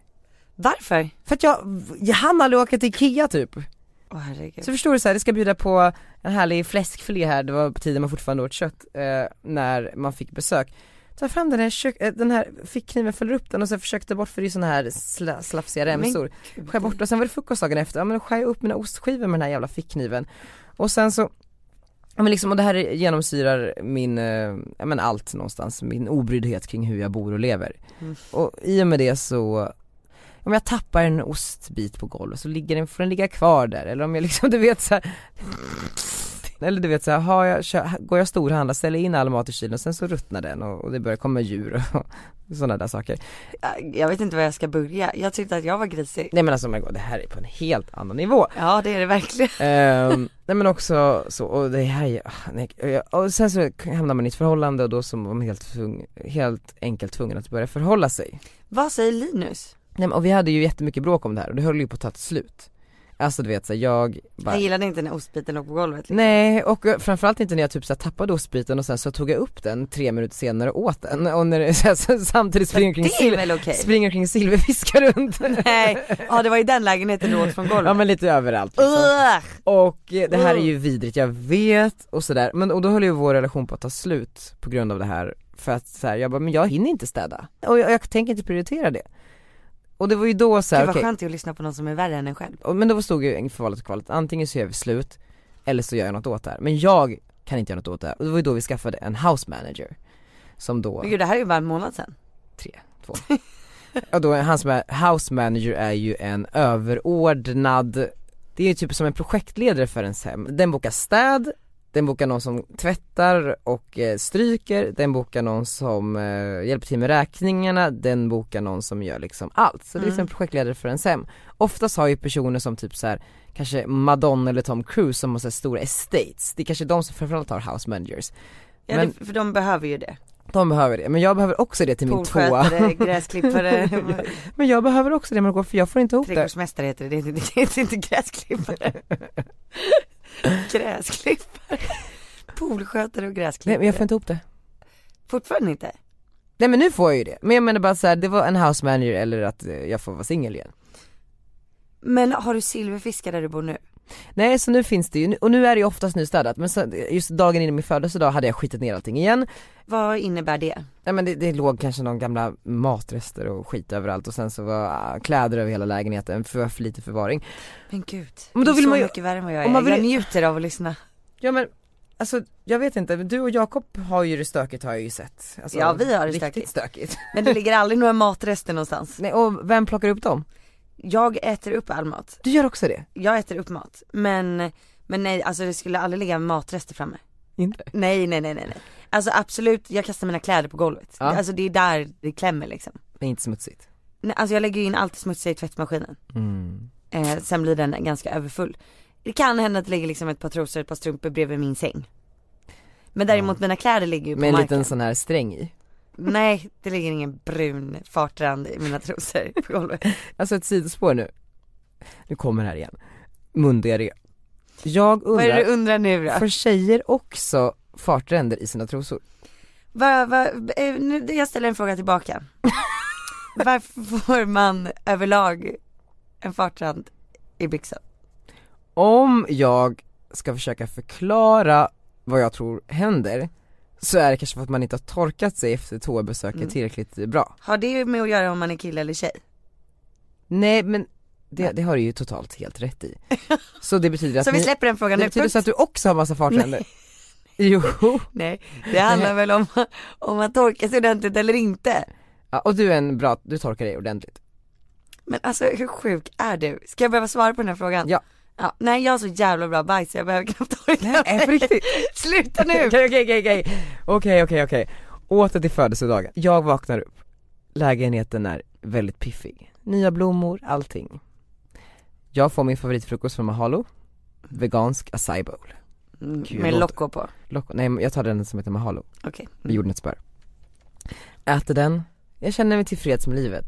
Varför? För att jag, jag hann aldrig åka till Ikea typ. Åh herregud. Så förstår du så här, det ska bjuda på en härlig fläskfilé här, det var på tiden man fortfarande åt kött, eh, när man fick besök Ta fram den här, kök, eh, den här fickkniven, fäller upp den och sen försökte bort för det är såna här sla, slafsiga remsor Skär bort och sen var det frukost dagen efter, ja men då skär jag upp mina ostskivor med den här jävla fickkniven Och sen så Ja, men liksom, och det här genomsyrar min, eh, ja, men allt någonstans, min obryddhet kring hur jag bor och lever. Och i och med det så, om jag tappar en ostbit på golvet så ligger den, får den ligga kvar där eller om jag liksom, du vet så här. Eller du vet så här, har jag, kö- går jag storhandla, ställer in all mat i kylen och sen så ruttnar den och, och det börjar komma djur och, och sådana där saker. Äh, Jag vet inte var jag ska börja. Jag tyckte att jag var grisig. Nej men alltså oh my God, det här är på en helt annan nivå. Ja det är det verkligen. Ehm, nej men också så, och det här är, ah, nej, jag- och sen så hamnar man i ett förhållande och då så var man helt, tvung, helt enkelt tvungen att börja förhålla sig. Vad säger Linus? Nej men och vi hade ju jättemycket bråk om det här och det höll ju på att ta ett slut. Alltså du vet så här, jag bara, Han gillade inte när ostbiten låg på golvet. liksom. Nej och eh, framförallt inte när jag typ så här, tappade ostbiten och sen så tog jag upp den tre minuter senare och åt den och när det, så här, så, samtidigt springer jag kring, Det är sil- väl okej? springer jag kring silverfiskar runt. Nej, ja det var i den lägenheten du åt från golvet. ja men lite överallt liksom. Ugh! Och eh, det här är ju vidrigt, jag vet och sådär, men och då höll ju vår relation på att ta slut på grund av det här för att så här, jag bara, men jag hinner inte städa och jag, jag tänker inte prioritera det Och det var ju då Gud såhär, vad okej, skönt det är att lyssna på någon som är värre än en själv. och- men då stod ju inför valet och kvalet, antingen så gör vi slut eller så gör jag något åt det här, men jag kan inte göra något åt det här och det var ju då vi skaffade en house manager som då, Men gud det här är ju bara en månad sedan. tre, två Och då, hans ma- house manager är ju en överordnad, det är ju typ som en projektledare för ens hem. Den bokar städ, den bokar någon som tvättar och eh, stryker, den bokar någon som eh, hjälper till med räkningarna, den bokar någon som gör liksom allt. Så det är Mm. liksom en projektledare för ens hem. Oftast har ju personer som typ så här kanske Madonna eller Tom Cruise som har så här stora estates, det är kanske de som framförallt har house managers. Ja, Men- det, för de behöver ju det. De behöver det, men jag behöver också det till min tvåa. Poolskötare, gräsklippare, Men jag behöver också det Margot för jag får inte ihop det. trädgårdsmästare heter det, det är inte, det heter inte gräsklippare. gräsklippare. Poolskötare och gräsklippare. Nej men jag får inte ihop det. Fortfarande inte? Nej men nu får jag ju det. Men jag menar bara så här, det var en house manager eller att eh, jag får vara singel igen. Men har du silverfiskar där du bor nu? Nej så nu finns det ju, och nu är det ju oftast nystädat men så, just dagen innan min födelsedag hade jag skitit ner allting igen. Vad innebär det? Nej men det, det låg kanske någon gamla matrester och skit överallt och sen så var ah, kläder över hela lägenheten för, för lite förvaring. Men gud, Men då du är vill så man ju- mycket värre än vad jag är. om man vill- Jag njuter av att lyssna. Ja men alltså jag vet inte, men du och Jakob har ju det stökigt har jag ju sett. Alltså, Ja, vi har det Riktigt stökigt. stökigt. Men det ligger aldrig några matrester någonstans. Nej, och vem plockar upp dem? Jag äter upp all mat. Du gör också det? Jag äter upp mat. Men, men nej alltså det skulle aldrig ligga matrester framme. Inte? Nej nej nej nej. nej. Alltså absolut, jag kastar mina kläder på golvet. Ja. Alltså det är där det klämmer liksom. Men inte smutsigt. Nej, alltså jag lägger ju in allt det smutsiga i tvättmaskinen. Eh, sen blir den ganska överfull. Det kan hända att det ligger liksom ett par trosor och ett par strumpor bredvid min säng. Men däremot mina kläder ligger ju på Med en marken. liten sån här sträng i. Nej, det ligger ingen brun fartrand i mina trosor på golvet. Alltså ett sidospår nu. Nu kommer det här igen. Mundiga Jag Vad är det du undrar, undrar nu då? får tjejer också fartränder i sina trosor? Va, va, eh, nu, jag ställer en fråga tillbaka. Varför får man överlag en fartrand i byxan? Om jag ska försöka förklara vad jag tror händer så är det kanske för att man inte har torkat sig efter toabesöket Mm. tillräckligt bra. Har det med att göra om man är kille eller tjej? Nej men det, det har du ju totalt helt rätt i. Så det betyder att Så vi ni, släpper den frågan det nu. betyder så att Punkt. du också har massa fartränder? Jo, Nej, det handlar väl om om man torkar sig ordentligt eller inte. ja, och du är en bra, du torkar dig ordentligt. Men alltså hur sjuk är du? Ska jag behöva svara på den här frågan? Ja. ja nej jag har så jävla bra bajs så jag behöver knappt torka Nej, på riktigt. Sluta nu! Okej okej okej okej, okej okej okej. Åter till födelsedagen. Jag vaknar upp, lägenheten är väldigt piffig. Nya blommor, allting. Jag får min favoritfrukost från Mahalo, vegansk acai bowl. Gud, Mm, Med låt- Loco på. Lock- nej men jag tar den som heter Mahalo, Okej. med jordnötsspör. Äter den, jag känner mig tillfreds med livet.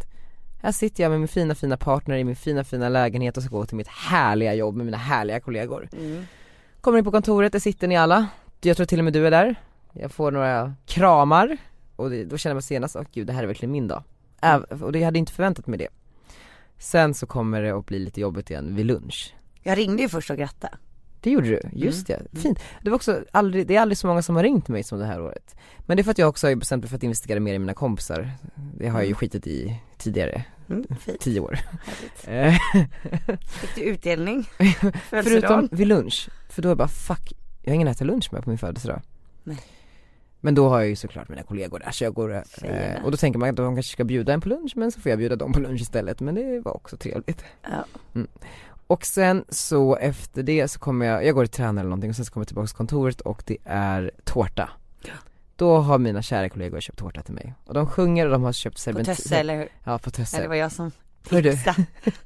Här sitter jag med min fina fina partner i min fina fina lägenhet och ska gå till mitt härliga jobb med mina härliga kollegor. Kommer in på kontoret, där sitter ni alla. Jag tror till och med du är där. Jag får några kramar och det, då känner man senast, åh gud det här är verkligen min dag. Äv, och det jag hade inte förväntat mig det. Sen så kommer det att bli lite jobbigt igen vid lunch. Jag ringde ju först och grattade. Det gjorde du, Mm. just det. Fint. Det var också aldrig, det är aldrig så många som har ringt mig som det här året. Men det är för att jag också har bestämt mig för att investera mer i mina kompisar. Det har jag ju skitit i tidigare, Mm, fint. tio år. Härligt. Eh, Fick du utdelning? Förutom Födelsedagen? vid lunch, för då är jag bara fuck, jag har ingen ätit lunch med på min födelsedag. Nej. Men då har jag ju såklart mina kollegor där så jag går, Tjejerna. eh, och då tänker man att de kanske ska bjuda en på lunch men så får jag bjuda dem på lunch istället men det var också trevligt. Mm. Ja. Och sen så efter det så kommer jag, jag går och tränar eller någonting och sen så kommer jag tillbaka till kontoret och det är tårta. Då har mina kära kollegor köpt tårta till mig och de sjunger och de har köpt På serpentin. Tösse eller hur? Ja på Nej, det Tösse. var jag som Hör du? tipsade.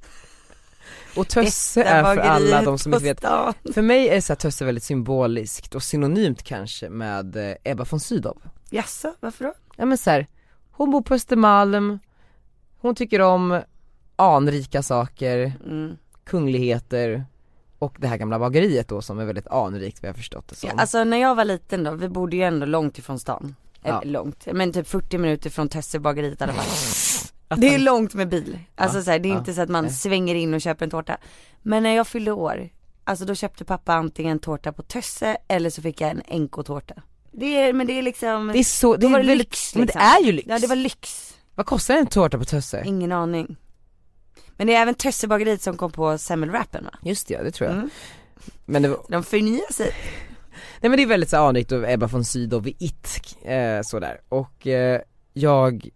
Och Tösse är för alla de som inte vet Stan. För mig är så här Tösse väldigt symboliskt och synonymt kanske med eh, Ebba von Sydow. Jaså, varför då? Ja men så här, hon bor på Östermalm, hon tycker om anrika saker, Mm. kungligheter och det här gamla bageriet då som är väldigt anrikt vad jag har förstått det som. Ja, alltså när jag var liten då, vi bodde ju ändå långt ifrån stan. Eller Ja. långt, men typ 40 minuter från Tösse bageriet i alla fall. Det är långt med bil, alltså så här, det är ja, inte så att man nej. svänger in och köper en tårta. Men när jag fyllde år, alltså då köpte pappa antingen tårta på Tösse eller så fick jag en NK-tårta. Det är, men det är liksom, det är så, det då är var det väldigt, lyx men det liksom. är ju lyx. ja det var Mm. lyx. Vad kostar en tårta på Tösse? Ingen aning. Men det är även Tösse bageriet som kom på semmelwrappen va? Just det, ja, det tror jag. Mm. Men det var, De förnyar sig. Nej men det är väldigt så här anrikt och Ebba von Sydow i It, eh, sådär. Och eh, jag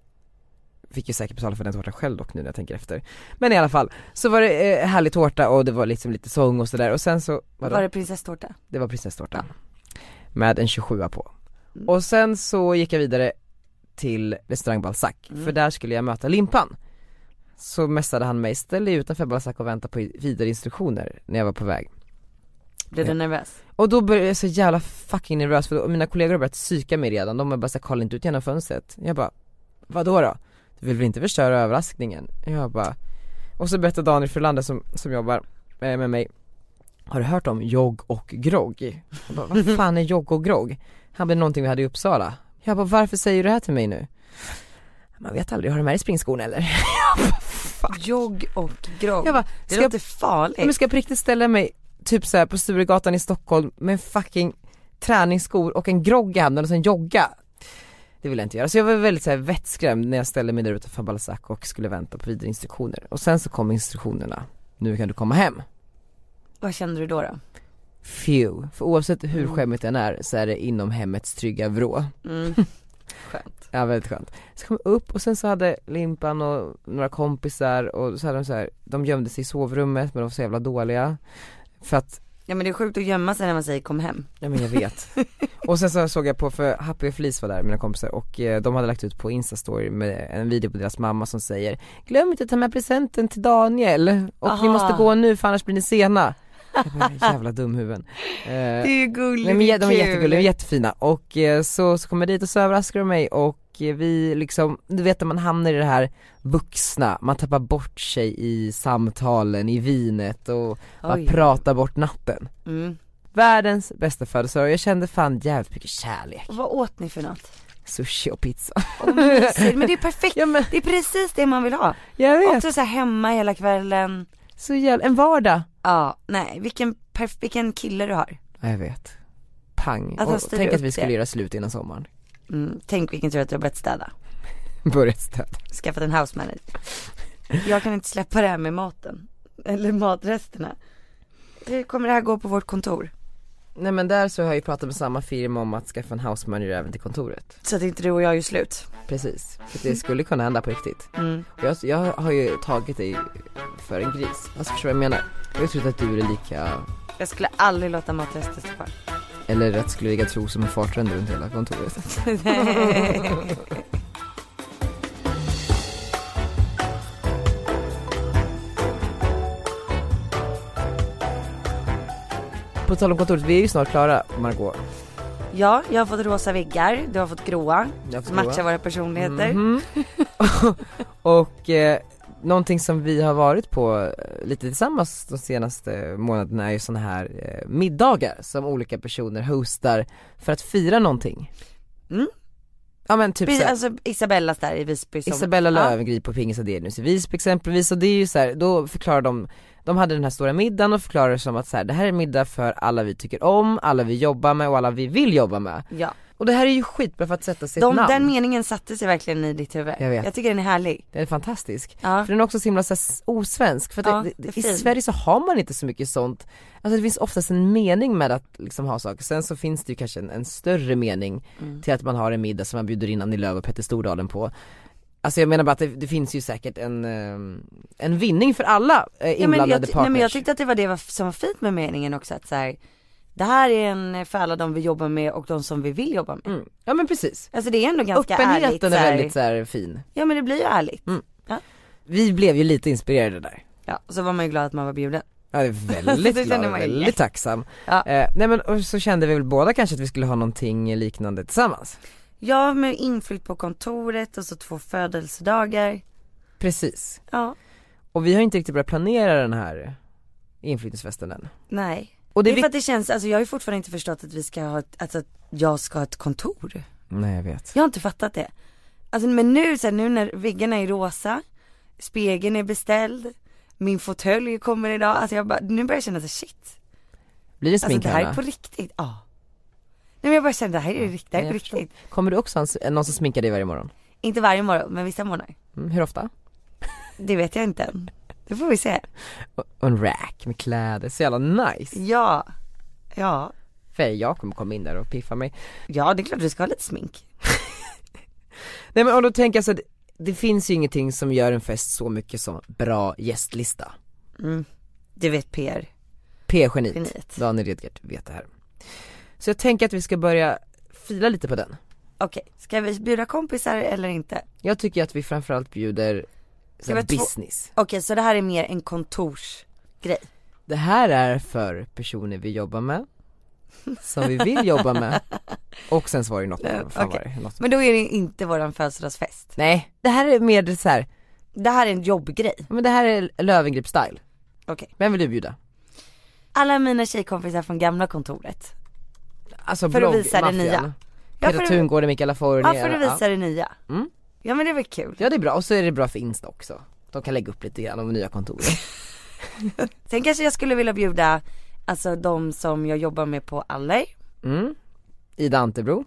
fick ju säkert betala för den tårtan själv dock nu när jag tänker efter. Men i alla fall, så var det eh, härlig tårta och det var liksom lite sång och sådär och sen så, vadå? Var det prinsesstårta? Det var prinsesstårtan. Med en 27 på. Mm. Och sen så gick jag vidare till restaurang Balzac, Mm. för där skulle jag möta Limpan. Så messade han mig, ställ dig utanför Balzac och vänta på vidare instruktioner när jag var på väg. Blev du nervös? Och då började jag så jävla fucking nervös för då, och mina kollegor har börjat psyka mig redan, de har bara sagt kolla inte ut genom fönstret Jag bara, vadå då? Du vill väl inte förstöra överraskningen? Jag bara Och så berättade Daniel Frölander som, som jobbar eh, med mig Har du hört om jogg och grogg? Jag bara, vad fan är jogg och grogg? Han blev någonting vi hade i Uppsala Jag bara, varför säger du det här till mig nu? Man vet aldrig, har du med dig springskon eller? Jogg och grogg. Jag bara, det ska jag låter farligt. Nej, Men ska jag på riktigt ställa mig typ så här på Sturegatan i Stockholm med en fucking träningsskor och en grogg i handen och sen jogga? Det vill jag inte göra, så jag var väldigt så här vettskrämd när jag ställde mig där utanför Balzac och skulle vänta på vidare instruktioner. Och sen så kom instruktionerna, nu kan du komma hem. Vad kände du då då? few. För oavsett hur skämmigt den är så är det inom hemmets trygga vrå. Mm. Skönt. Ja väldigt skönt. Så kom jag upp och sen så hade Limpan och några kompisar och så hade de så här, de gömde sig i sovrummet men de var så jävla dåliga. För att Ja men det är sjukt att gömma sig när man säger kom hem. Ja men jag vet. och sen så såg jag på, för Happy och Felice var där, mina kompisar, och eh, de hade lagt ut på Instastory med en video på deras mamma som säger Glöm inte att ta med presenten till Daniel, och ni Aha. måste gå nu för annars blir ni sena. Jag bara, jävla dumhuvuden. Eh, Det är ju gulligt Nej men jä- de är kul. jättegulliga, de är jättefina och eh, så, så kommer jag dit och så överraskar de mig och eh, vi liksom, du vet när man hamnar i det här vuxna, man tappar bort sig i samtalen, i vinet och bara Oj. pratar bort natten Mm. Världens bästa födelsedag och jag kände fan jävligt mycket kärlek, Och vad åt ni för något? sushi och pizza Åh, mysigt. men det är perfekt, Ja men det är precis det man vill ha. jag vet, Också så här hemma hela kvällen. så jävla, en vardag Ja, nej vilken, perf- vilken kille du har. Ja, Jag vet, pang, Att han och styr tänk att upp vi skulle det. göra slut innan sommaren, Mm, tänk vilken tur att du har börjat städa, börja städa skaffat en house manager. Jag kan inte släppa det här med maten, eller matresterna. Hur kommer det här gå på vårt kontor? Nej men där så har jag ju pratat med samma firma om att skaffa en house manager även till kontoret Så att inte du och jag gör slut. Precis, för det skulle kunna hända på riktigt. Mm. Och Jag, jag har ju tagit dig för en gris, alltså förstår du vad jag menar? Jag har ju trott att du är lika, Jag skulle aldrig låta matrester stå kvar. eller rätt skulle jag tro som en fartränd runt hela kontoret. På tal om kontoret, vi är ju snart klara Margot. Ja, jag har fått rosa väggar, du har fått gråa, Jag har fått matchar prova. våra personligheter. Mhm. Och eh, någonting som vi har varit på eh, lite tillsammans de senaste månaderna är ju sådana här eh, middagar som olika personer hostar för att fira någonting. Mm. Ja men typ Precis, såhär, alltså Isabellas där i Visby som, Isabella Ja. Löwengrip och Pingis Adenius i Visby exempelvis och det är ju så här, då förklarar de, de hade den här stora middagen och förklarar det som att så här, det här är en middag för alla vi tycker om, alla vi jobbar med och alla vi vill jobba med. ja. Och det här är ju skitbra för att sätta sitt De, namn. den meningen satte sig verkligen i ditt huvud. Jag vet. tycker den är härlig. Den är fantastisk. Ja. För den är också så himla så här s- osvensk, för att Ja, det, det är det, i fin. Sverige så har man inte så mycket sånt, alltså det finns oftast en mening med att liksom ha saker, sen så finns det ju kanske en, en större mening Mm. till att man har en middag som man bjuder in Annie Lööf och Petter Stordalen på Alltså jag menar bara att det, det finns ju säkert en, ehm, en vinning för alla eh, Ja, men inblandade jag, ty- partners nej, men jag tyckte att det var det var f- som var fint med meningen också att så här, det här är en för alla de vi jobbar med och de som vi vill jobba med. mm. Ja men precis, Alltså det är ändå ganska ärligt. öppenheten så är här. väldigt så här, fin Ja men det blir ju ärligt. Vi blev ju lite inspirerade där Ja, och så var man ju glad att man var bjuden. Ja det är väldigt Det glad, känner och man ju. väldigt tacksam. Ja. Eh, nej men och så kände vi väl båda kanske att vi skulle ha någonting liknande tillsammans. Ja med inflytt på kontoret och så två födelsedagar. Precis. Ja, Och vi har inte riktigt börjat planera den här inflyttningsfesten än. nej. Och Det det är är för vik- att det känns, alltså jag har ju fortfarande inte förstått att vi ska ha ett, alltså att jag ska ha ett kontor. Nej jag vet. Jag har inte fattat det. Alltså men nu så här, nu när väggarna är rosa, spegeln är beställd, min fåtölj kommer idag, alltså jag bara, nu börjar jag känna så här, shit. Blir det Alltså smink det här är Hanna? på riktigt, ja. Nej men jag bara känner det här är riktigt, det här är Nej, på jag förstår. riktigt. Kommer du också ha en s- eh, någon som sminkar dig varje morgon? Inte varje morgon, men vissa morgnar. Mm, hur ofta? Det vet jag inte än. Det får vi se. Och, och en rack med kläder, så jävla nice. Ja, ja, För jag kommer komma in där och piffa mig. ja det är klart vi ska ha lite smink. Nej men och då tänker jag så att det finns ju ingenting som gör en fest så mycket som bra gästlista. Du vet PR. P-geniet. Geniet. Daniel Redgert vet det här. Så jag tänker att vi ska börja fila lite på den. Okej, ska vi bjuda kompisar eller inte? Jag tycker att vi framförallt bjuder så här, vara två- business. Okej, så det här är mer en kontorsgrej. Det här är för personer vi jobbar med, som vi vill jobba med och sen så var det ju något, Nej, vad fan okej. var det? något. Men då är det inte våran födelsedagsfest. Nej, det här är mer så här, Det här är en jobbgrej. men det här är Löwengrip style. Okej. Vem vill du bjuda? Alla mina tjejkompisar från gamla kontoret. Alltså För att blogg, visa det maffian. nya. Ja, Peder för att- Tungården, Mikaela Ja, Forni. för att visa det nya. Mm. Ja men det är väl kul. ja det är bra, och så är det bra för Insta också. De kan lägga upp lite grann om nya kontor. Sen kanske jag skulle vilja bjuda, alltså de som jag jobbar med på Aller. Mm. Ida Antebro,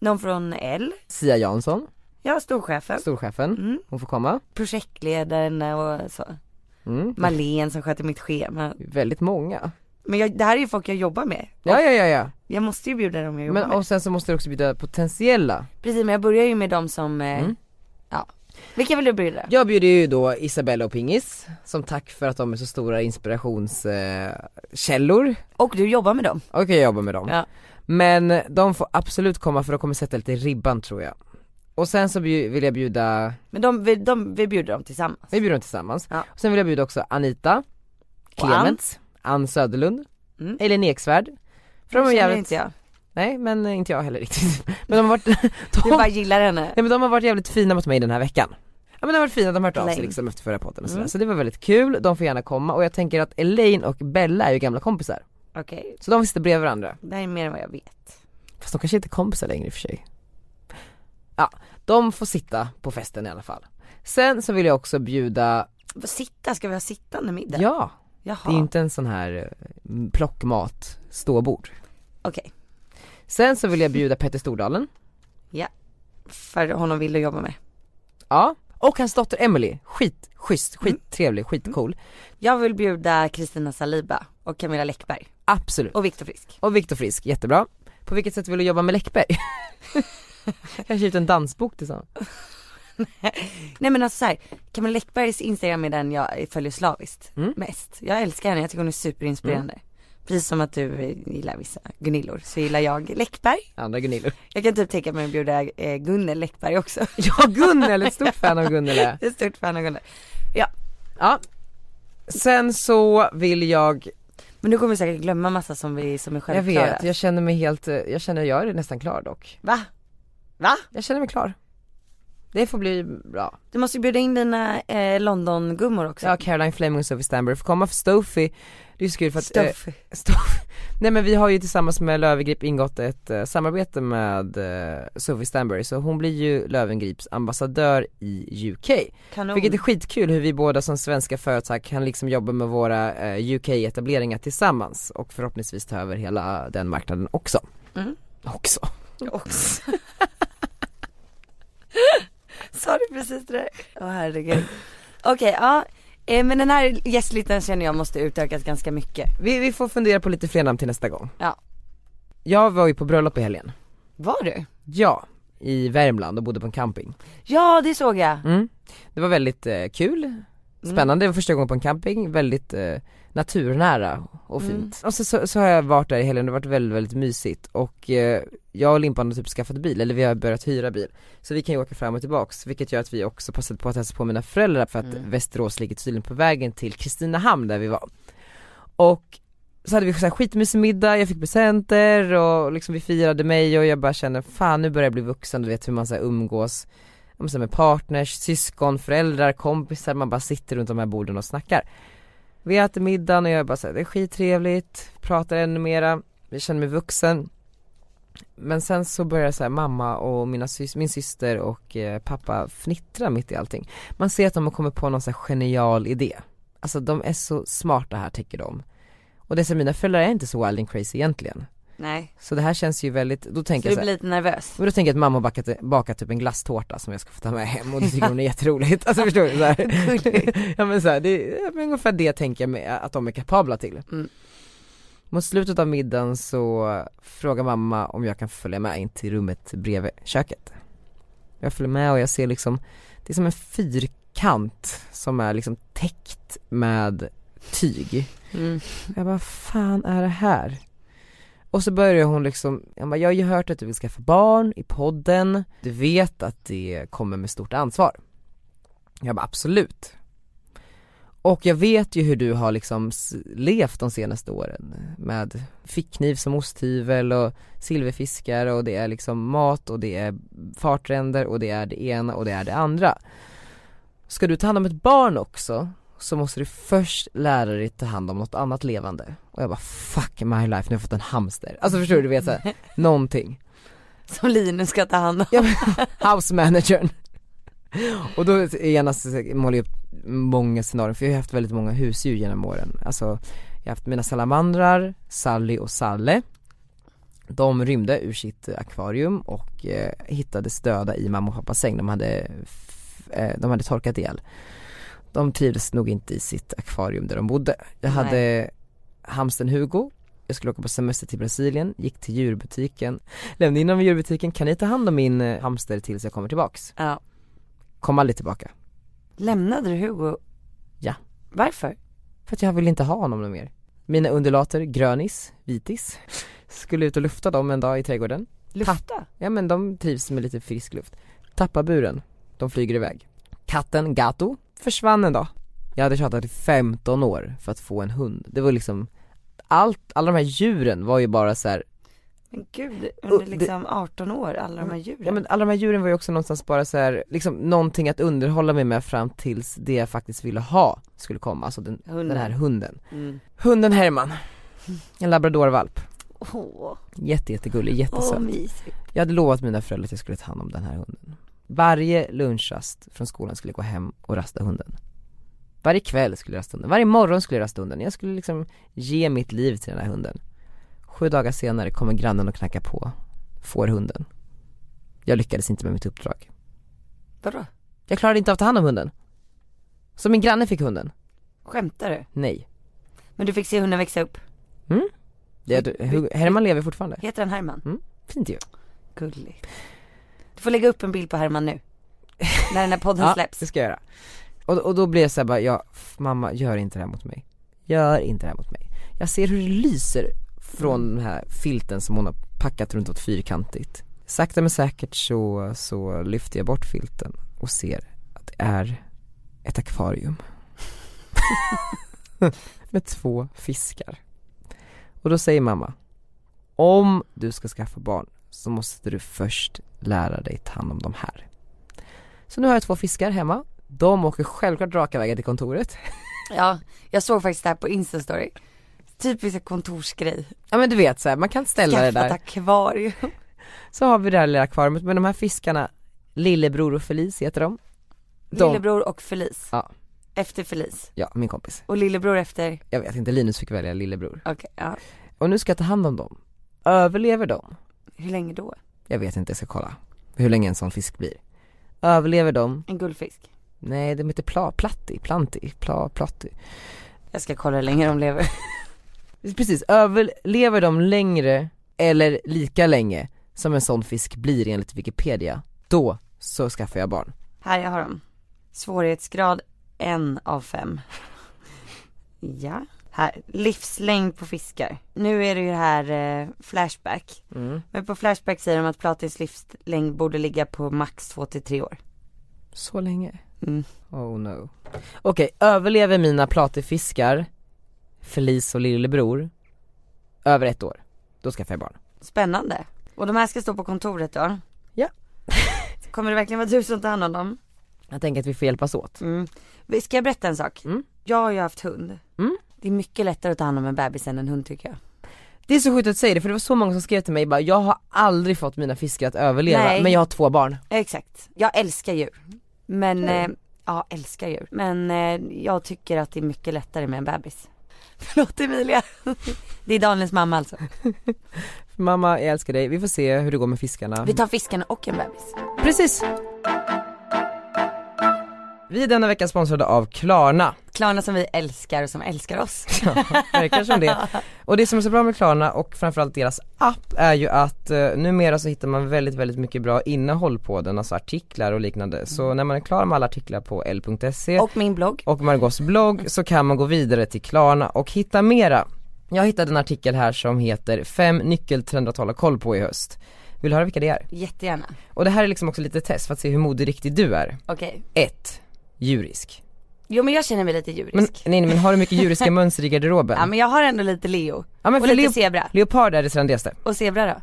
Någon från L. Sia Jansson, Ja, storchefen. storchefen, Mm. hon får komma. Projektledaren och så. Mm. Marlene som sköter mitt schema. Väldigt många. Men jag, det här är ju folk jag jobbar med. Ja, ja, ja, ja. Jag måste ju bjuda dem jag jobbar Men med. och sen så måste du också bjuda potentiella. Precis men jag börjar ju med dem som, eh, Mm. ja. Vilka vill du bjuda? Jag bjuder ju då Isabella och Pingis, som tack för att de är så stora inspirationskällor. Och du jobbar med dem? Och jag jobbar med dem. Ja. Men de får absolut komma för de kommer sätta lite ribban tror jag. Och sen så bju- vill jag bjuda, Men de, vi, de, vi bjuder dem tillsammans. vi bjuder dem tillsammans. Ja. Och sen vill jag bjuda också Anita, Och Ann. Clemens, Ann Söderlund, Mm. Elin Eksvärd. För de är Känner jävligt, inte jag. nej men inte jag heller riktigt. Men de har varit, Du de, bara gillar henne. nej, men de har varit jävligt fina mot mig den här veckan. Ja men de har varit fina, de har hört av sig Lame. liksom efter förra podden och sådär. Mm. Så det var väldigt kul, de får gärna komma och jag tänker att Elaine och Bella är ju gamla kompisar. Okej, Så de sitter bredvid varandra. det här är mer än vad jag vet. Fast de kanske inte är kompisar längre i och för sig. Ja, de får sitta på festen i alla fall. Sen så vill jag också bjuda, Vad Sitta, ska vi ha sittande middag? ja, Jaha, det är ju inte en sån här eh, plockmat ståbord. okej. Sen så vill jag bjuda Petter Stordalen, För honom vill du jobba med. ja, och hans dotter Emily. skit, schysst, skittrevlig, skitcool. Jag vill bjuda Kristina Saliba och Camilla Läckberg Absolut. och Viktor Frisk. Och Viktor Frisk, jättebra. På vilket sätt vill du jobba med Läckberg? kanske ut en dansbok tillsammans. Nej men alltså så här, Camilla Läckbergs instagram är den jag följer slaviskt Mm. mest. Jag älskar henne, jag tycker hon är superinspirerande. Precis som att du eh, gillar vissa Gunillor så gillar jag Läckberg. Andra Gunilla. Jag kan typ tänka mig att bjuda eh, Gunnel Läckberg också. Ja, Gunnel, ett stort fan av Gunnel är jag. Jag är stort fan av Gunnel. Ja. Sen så vill jag Men du kommer vi säkert glömma massa som vi som är Jag självklara. vet, jag känner mig helt, eh, jag känner jag är nästan klar dock. Va? Va? Jag känner mig klar. Det får bli bra. Du måste ju bjuda in dina eh, London-gummor också. Ja, Caroline Fleming och Sophie Stanbury får komma för Stofi, det är så kul för att, eh, Stuff. Stofi, nej men vi har ju tillsammans med Lövengrip ingått ett eh, samarbete med eh, Sophie Stanbury så hon blir ju Lövengrips ambassadör i UK. Kanon. Vilket är skitkul hur vi båda som svenska företag kan liksom jobba med våra eh, UK-etableringar tillsammans och förhoppningsvis ta över hela den marknaden också. Mm. Också. också. Sa du precis det där? Åh herregud. Okej, ja. Eh, men den här gästlistan känner jag måste utökas ganska mycket. Vi, vi får fundera på lite fler namn till nästa gång. Ja. Jag var ju på bröllop i helgen. Var du? Ja, i Värmland och bodde på en camping. Ja, det såg jag. Mm. Det var väldigt eh, kul, spännande, det var första gången på en camping, väldigt eh, naturnära och fint. Och så, så, så har jag varit där i helgen och det har varit väldigt, väldigt mysigt och eh, jag och Limpan har typ skaffat bil, eller vi har börjat hyra bil. Så vi kan ju åka fram och tillbaks, vilket gör att vi också passade på att hälsa på mina föräldrar för att Västerås ligger tydligen på vägen till Kristinehamn där vi var. Och så hade vi så här skitmysig middag, jag fick presenter och liksom vi firade mig och jag bara kände fan nu börjar jag bli vuxen, du vet hur man så här umgås ja, men så här med partners, syskon, föräldrar, kompisar, man bara sitter runt de här borden och snackar. Vi äter middagen och jag bara såhär, det är skittrevligt, pratar ännu mera, jag känner mig vuxen. Men sen så börjar så här, mamma och mina sys- min syster och eh, pappa fnittra mitt i allting. Man ser att de har kommit på någon så här genial idé. Alltså de är så smarta här tycker de. Och det är så här, mina föräldrar är inte så wild and crazy egentligen. Nej. Så det här känns ju väldigt, då tänker Så jag du så här, blir lite nervös. men då tänker jag att mamma har bakat, bakat typ en glasstårta som jag ska få ta med hem och det tycker hon är jätteroligt. Alltså förstår du? Så här. ja men så här, det är ja, men ungefär det tänker jag mig att de är kapabla till. Mm. Mot slutet av middagen så frågar mamma om jag kan följa med in till rummet bredvid köket. Jag följer med och jag ser liksom, det är som en fyrkant som är liksom täckt med tyg. Mm. Jag bara, fan är det här? Och så börjar hon liksom, jag bara, jag har ju hört att du vill skaffa barn i podden, du vet att det kommer med stort ansvar. Jag bara, absolut. Och jag vet ju hur du har liksom s- levt de senaste åren med fickkniv som osthyvel och silverfiskar och det är liksom mat och det är fartränder och det är det ena och det är det andra. Ska du ta hand om ett barn också så måste du först lära dig ta hand om något annat levande. Och jag bara fuck my life, nu har jag fått en hamster. Alltså förstår du, du vet såhär, någonting. Som Linus ska ta hand om. House managern. Och då genast målar jag upp många scenarion, för jag har haft väldigt många husdjur genom åren. Alltså, jag har haft mina salamandrar, Sally och Salle. De rymde ur sitt akvarium och eh, hittades döda i mamma och pappas säng, de hade, f- eh, de hade torkat ihjäl. De trivdes nog inte i sitt akvarium där de bodde. Jag Nej. hade hamsten Hugo, jag skulle åka på semester till Brasilien, gick till djurbutiken, lämnade in honom i djurbutiken, kan ni ta hand om min eh, hamster tills jag kommer tillbaks? Ja. Kom aldrig tillbaka, Lämnade du Hugo? Ja. Varför? för att jag vill inte ha honom mer. Mina undulater, grönis, vitis, skulle ut och lufta dem en dag i trädgården. Lufta? Ja men de trivs med lite frisk luft. Tappa buren, de flyger iväg. Katten Gato försvann en dag. Jag hade tjatat i 15 år för att få en hund. Det var liksom, allt, alla de här djuren var ju bara så här. Men gud, Och under det- liksom 18 år, alla de här djuren. ja men alla de här djuren var ju också någonstans bara så här, liksom någonting att underhålla mig med fram tills det jag faktiskt ville ha skulle komma, alltså den, den Hunden. här hunden. Mm. Hunden Herman, en labradorvalp, Åh, jätte jättegullig, jättesöt. åh mysigt. Jag hade lovat mina föräldrar att jag skulle ta hand om den här hunden. Varje lunchrast från skolan skulle jag gå hem och rasta hunden. Varje kväll skulle jag rasta hunden, varje morgon skulle jag rasta hunden. Jag skulle liksom ge mitt liv till den här hunden. Sju dagar senare kommer grannen och knackar på, får hunden. Jag lyckades inte med mitt uppdrag. Vadå? Jag klarade inte av att ta hand om hunden. Så min granne fick hunden. Skämtar du? Nej. Men du fick se hunden växa upp. Jag, Herman lever fortfarande. Heter han Herman? Fint ju. Gulligt. Du får lägga upp en bild på Herman nu. När den här podden släpps. det ska jag göra. Och, och då blir jag såhär bara, ja, f- mamma gör inte det här mot mig. Gör inte det här mot mig. Jag ser hur det lyser från Mm. den här filten som hon har packat runt åt fyrkantigt. Sakta men säkert så, så lyfter jag bort filten och ser att det är ett akvarium. Med två fiskar. Och då säger mamma, om du ska skaffa barn så måste du först lära dig ta hand om de här. Så nu har jag två fiskar hemma. De åker självklart raka vägen till kontoret. Ja, jag såg faktiskt det här på Insta-story. Typisk kontorsgrej. Ja men du vet så här, man kan ställa det Skaffa ett där. akvarium. Så har vi det här lilla akvariet men de här fiskarna, Lillebror och Felice heter de. De- Lillebror och Felice. Ja. Efter Felice. Ja, min kompis. Och lillebror efter, Jag vet inte, Linus fick välja Lillebror. okej, ja. Och nu ska jag ta hand om dem. Överlever de? Hur länge då? Jag vet inte, jag ska kolla hur länge en sån fisk blir. Överlever de? En guldfisk. Nej, de heter pla, platti, planti, pla, platti. Jag ska kolla hur länge de lever. Precis, överlever de längre eller lika länge som en sån fisk blir enligt Wikipedia, då så skaffar jag barn. Här, jag har dem. Svårighetsgrad en av fem. Ja. Här, livslängd på fiskar. Nu är det ju det här eh, Flashback. Mm. Men på Flashback säger de att Platins livslängd borde ligga på max två till tre år. Så länge? Mm. Oh no. Okej, överlever mina platyfiskar, Felice och lillebror, över ett år, då skaffar jag barn. Spännande. Och de här ska stå på kontoret då? Ja. Kommer det verkligen vara du som tar hand om dem? Jag tänker att vi får hjälpas åt. Mm. Ska jag berätta en sak? Mm. Jag har ju haft hund. Mm. Det är mycket lättare att ta hand om en bebis än en hund tycker jag. Det är så sjukt att du säger det för det var så många som skrev till mig bara, jag har aldrig fått mina fiskar att överleva Nej. men jag har två barn. Exakt. Jag älskar djur. Men, Okej. eh, ja älskar djur. Men eh, jag tycker att det är mycket lättare med en bebis. Förlåt Emilia. det är Daniels mamma alltså. Mamma, jag älskar dig, vi får se hur det går med fiskarna. Vi tar fiskarna och en bebis. Precis! Vi är denna vecka sponsrade av Klarna. Klarna som vi älskar och som älskar oss. Verkar som det. Och det som är så bra med Klarna och framförallt deras app är ju att eh, numera så hittar man väldigt, väldigt mycket bra innehåll på den, alltså artiklar och liknande. Så när man är klar med alla artiklar på l.se Och min blogg. E och Margaux blogg så kan man gå vidare till Klarna och hitta mera. Jag hittade en artikel här som heter fem nyckeltrender att hålla koll på i höst. Vill du höra vilka det är? Jättegärna. Och det här är liksom också lite test för att se hur moderiktig du är. Okej. 1. Djurisk. Jo men jag känner mig lite djurisk. Men, nej men har du mycket djuriska mönster i garderoben? Ja men jag har ändå lite Leo. Ja, men och för lite Leo- zebra. Leopard är det trendigaste. Och zebra då?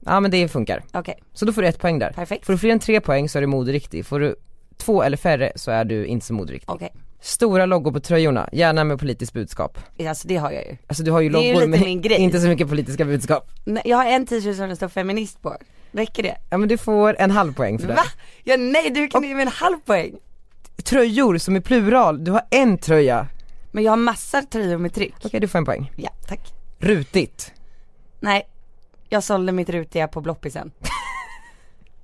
Ja men det funkar. Okej. Så då får du ett poäng där. Perfekt. Får du fler än tre poäng så är du moderiktig, får du två eller färre så är du inte så moderiktig. Okej. Stora loggor på tröjorna, gärna med politiskt budskap. Alltså det har jag ju. Alltså du har ju Det är ju loggor lite min grej. inte så mycket politiska budskap. Nej, Jag har en t-shirt som det står feminist på. Räcker det? Ja men du får en halv poäng för det. Va? Ja, nej du kan ge mig en halv poäng. Tröjor som är plural, du har en tröja. Men jag har massa tröjor med tryck. Okej du får en poäng. Ja, tack. Rutigt. Nej, jag sålde mitt rutiga på Bloppisen.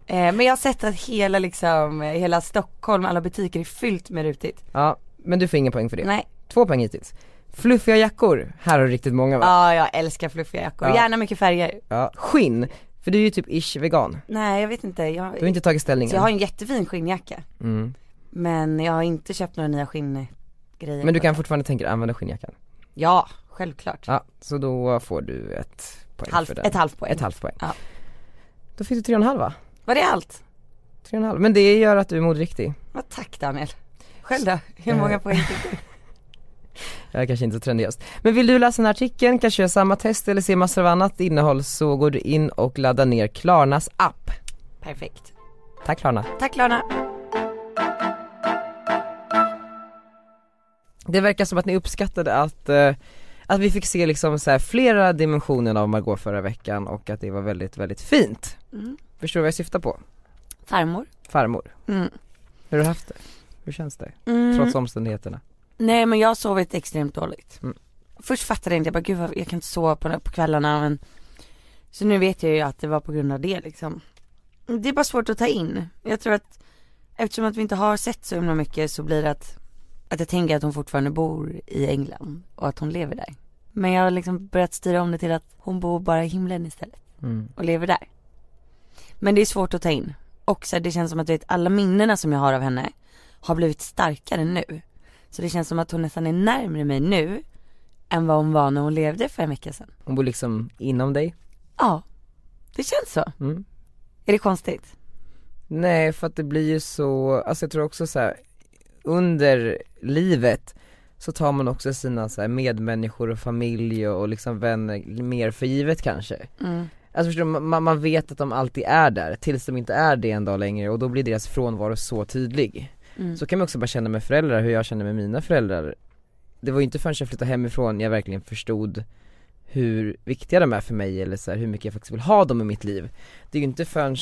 eh, men jag har sett att hela liksom, eh, hela Stockholm, alla butiker är fyllt med rutigt. Ja, men du får ingen poäng för det. Nej, Två poäng hittills. Fluffiga jackor, här har du riktigt många va? Ja, jag älskar fluffiga jackor. Ja. Gärna mycket färger. Ja. Skinn, för du är ju typ ish vegan. Nej, jag vet inte. Du har Jag, inte tagit ställning jag har än. en jättefin skinnjacka. Mm. Men jag har inte köpt några nya skinngrejer. Men du kan fortfarande tänka dig använda skinnjackan. Ja, självklart. Ja, så då får du ett poäng halvt, för den. ett halvt poäng. Ett halvt poäng. Ja. Då fick du tre och en halv va? Var det allt? Tre och en halv. Men det gör att du är modriktig. Vad tack Daniel. Själv då? Eh. Hur många poäng fick du? Jag är kanske inte så trendigast. Men vill du läsa den här artikeln, kanske göra samma test eller se massor av annat innehåll så går du in och laddar ner Klarnas app. Perfekt. Tack Klarna. Tack Lana. Det verkar som att ni uppskattade att, eh, att vi fick se liksom så här flera dimensioner av Margot förra veckan och att det var väldigt, väldigt fint. Mm. Förstår du vad jag syftar på? Farmor. Farmor, Mm. hur har du haft det? Hur känns det? Mm. Trots omständigheterna? Nej men jag har sovit extremt dåligt. Mm. Först fattade jag inte, jag bara gud vad- jag kan inte sova på, på kvällarna men Så nu vet jag ju att det var på grund av det liksom. Det är bara svårt att ta in. Jag tror att eftersom att vi inte har sett så himla mycket så blir det att, att jag tänker att hon fortfarande bor i England och att hon lever där. Men jag har liksom börjat styra om det till att hon bor bara i himlen istället Mm. och lever där. Men det är svårt att ta in. Och så här, det känns som att du vet, alla minnena som jag har av henne har blivit starkare nu. Så det känns som att hon nästan är närmare mig nu än vad hon var när hon levde för en vecka sedan. Hon bor liksom inom dig? Ja, det känns så. Mm. Är det konstigt? Nej för att det blir ju så, alltså jag tror också så här under livet så tar man också sina så här medmänniskor och familj och liksom vänner mer för givet kanske. Mm. Alltså förstår du, man, man vet att de alltid är där tills de inte är det en dag längre och då blir deras frånvaro så tydlig. Mm. Så kan man också bara känna med föräldrar, hur jag känner med mina föräldrar. Det var ju inte förrän jag flyttade hemifrån jag verkligen förstod hur viktiga de är för mig eller så här, hur mycket jag faktiskt vill ha dem i mitt liv. Det är ju inte förrän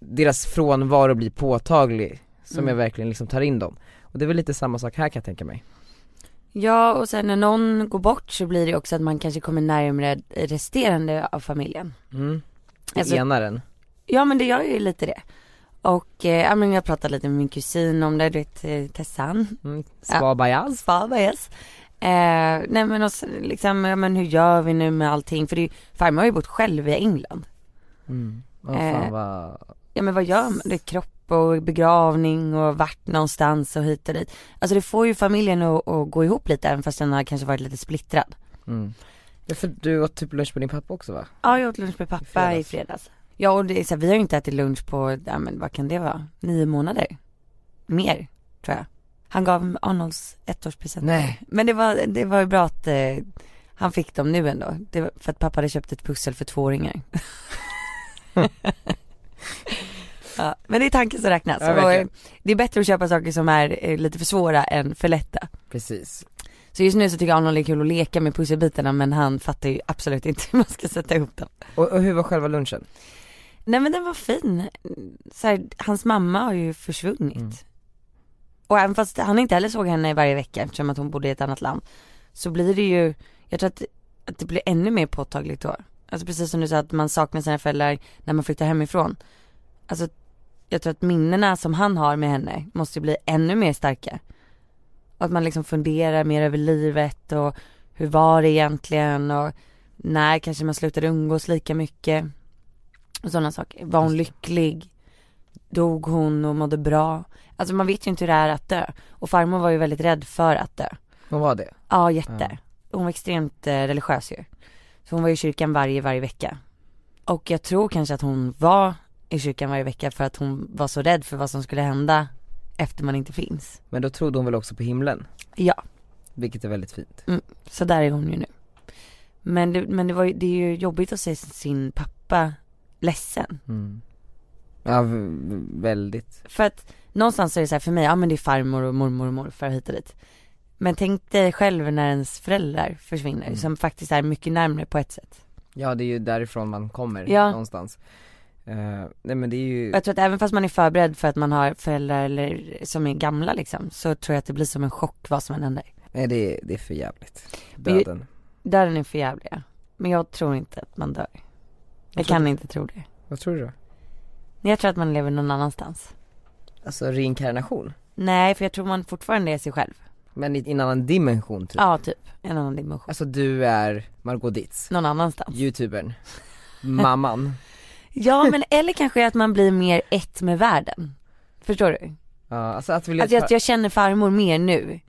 deras frånvaro blir påtaglig som Mm. jag verkligen liksom tar in dem. Och det är väl lite samma sak här kan jag tänka mig. Ja, och sen när någon går bort så blir det också att man kanske kommer närmare resterande av familjen. Mm. Alltså- Enar en. Ja men det gör ju lite det. Och eh, ja, men jag pratade lite med min kusin om det, du vet eh, Tessan. Mm. Ja. Svabajas. Hans far var yes. Eh, nej men och sen, liksom, ja, men hur gör vi nu med allting? För det är ju, farmor har ju bott själv i England. Mm. Åh Eh. fan vad, Ja men vad gör man? Det är kropp och begravning och vart någonstans och hit och dit. Alltså det får ju familjen att, att gå ihop lite även fast den har kanske varit lite splittrad. mm. Ja, för du åt typ lunch med din pappa också va? Ja jag åt lunch med pappa i fredags. fredags. Ja och det är så här, vi har ju inte ätit lunch på, ja men vad kan det vara? Nio månader? Mer, tror jag. Han gav Arnolds ettårspresent. Nej. Men det var, det var ju bra att eh, han fick dem nu ändå. Det var för att pappa hade köpt ett pussel för tvååringar. ja, men det är tanken som räknas. Ja, och, eh, verkligen. det är bättre att köpa saker som är eh, lite för svåra än för lätta. Precis. Så just nu så tycker Arnold det är kul att leka med pusselbitarna men han fattar ju absolut inte hur man ska sätta ihop dem. Och, och hur var själva lunchen? Nej men den var fin. Så här, hans mamma har ju försvunnit. Mm. Och även fast han inte heller såg henne varje vecka eftersom att hon bodde i ett annat land. Så blir det ju, jag tror att, att det blir ännu mer påtagligt då. Alltså precis som du sa att man saknar sina föräldrar när man flyttar hemifrån. Alltså jag tror att minnena som han har med henne måste ju bli ännu mer starka. Och att man liksom funderar mer över livet och hur var det egentligen och när kanske man slutade umgås lika mycket. Och sådana saker. Var hon lycklig? Dog hon och mådde bra? Alltså man vet ju inte hur det är att dö. Och farmor var ju väldigt rädd för att dö. Vad var det? Ja, jätte. Hon var extremt eh, religiös ju. Så hon var i kyrkan varje, varje vecka. Och jag tror kanske att hon var i kyrkan varje vecka för att hon var så rädd för vad som skulle hända efter man inte finns. Men då trodde hon väl också på himlen? Ja, Vilket är väldigt fint. så där är hon ju nu. Men det, men det, var, ju- det är ju jobbigt att se sin pappa ledsen. Mm. Ja, v- väldigt. För att någonstans är det så här för mig, ja men det är farmor och mormor och morfar hit och dit. Men tänk dig själv när ens föräldrar försvinner, Mm. som faktiskt är mycket närmare på ett sätt. Ja det är ju därifrån man kommer Ja. någonstans. Eh, nej men det är ju, Och Jag tror att även fast man är förberedd för att man har föräldrar eller som är gamla liksom, så tror jag att det blir som en chock vad som än händer. nej det är, det är för jävligt. Men ju- Döden. Döden är för jävlig, ja. men jag tror inte att man dör. Jag, tror kan inte tro Alltså det. Vad tror du då? Men Jag tror att man lever någon annanstans. Alltså reinkarnation? Nej, för jag tror man fortfarande är sig själv. Men i i en annan dimension typ. Ja typ, en annan dimension. Alltså du är Margot Dietz, Någon annanstans. youtubern, mamman. Ja men eller kanske att man blir mer ett med världen. Förstår du? Ja, alltså att vilja Att jag, ta- att jag känner farmor mer nu.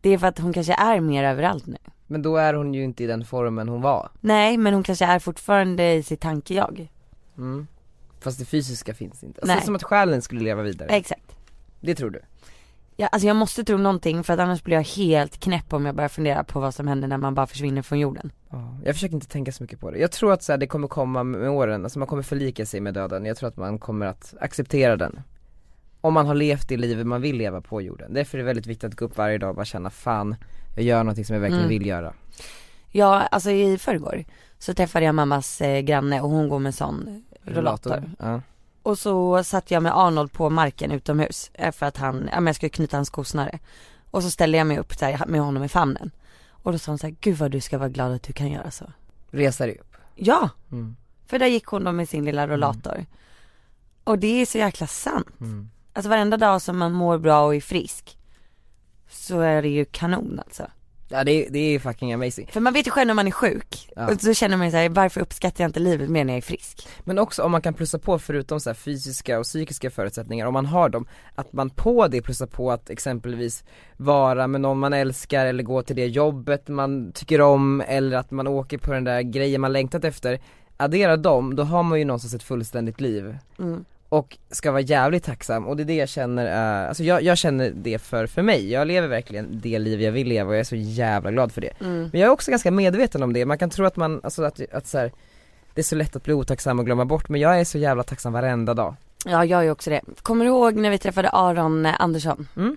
Det är för att hon kanske är mer överallt nu. Men då är hon ju inte i den formen hon var. Nej men hon kanske är fortfarande i sitt tankejag. Mm. Fast det fysiska finns inte. Alltså, det Nej. är som att själen skulle leva vidare. Exakt. Det tror du? Ja, alltså jag måste tro någonting för att annars blir jag helt knäpp om jag börjar fundera på vad som händer när man bara försvinner från jorden. Ja, Jag försöker inte tänka så mycket på det. Jag tror att så här, det kommer komma med åren, alltså man kommer förlika sig med döden. Jag tror att man kommer att acceptera den. Om man har levt det livet man vill leva på jorden. Därför är det väldigt viktigt att gå upp varje dag och bara känna fan, jag gör någonting som jag verkligen Mm. vill göra. Ja, alltså i förrgår så träffade jag mammas eh, granne och hon går med en sån rollator. Ja. Och så satt jag med Arnold på marken utomhus eh, för att han, ja men jag skulle knyta hans kosnare. Och så ställde jag mig upp så här, med honom i famnen. Och då sa hon så här, gud vad du ska vara glad att du kan göra så. Resa dig upp. Ja! Mm. För där gick hon då med sin lilla rollator. Och det är så jäkla sant. Mm. Alltså varenda dag som man mår bra och är frisk så är det ju kanon alltså. Ja det, det är fucking amazing. För man vet ju själv när man är sjuk, Ja. och så känner man ju såhär, varför uppskattar jag inte livet mer när jag är frisk? Men också om man kan plussa på förutom så här fysiska och psykiska förutsättningar, om man har dem, att man på det plussar på att exempelvis vara med någon man älskar eller gå till det jobbet man tycker om eller att man åker på den där grejen man längtat efter. Addera dem, då har man ju någonstans ett fullständigt liv Mm. och ska vara jävligt tacksam och det är det jag känner, eh, alltså jag, jag känner det för, för mig, jag lever verkligen det liv jag vill leva och jag är så jävla glad för det. Mm. Men jag är också ganska medveten om det, man kan tro att man, alltså att, att så här, det är så lätt att bli otacksam och glömma bort men jag är så jävla tacksam varenda dag. Ja jag är också det. Kommer du ihåg när vi träffade Aron eh, Andersson? Mm.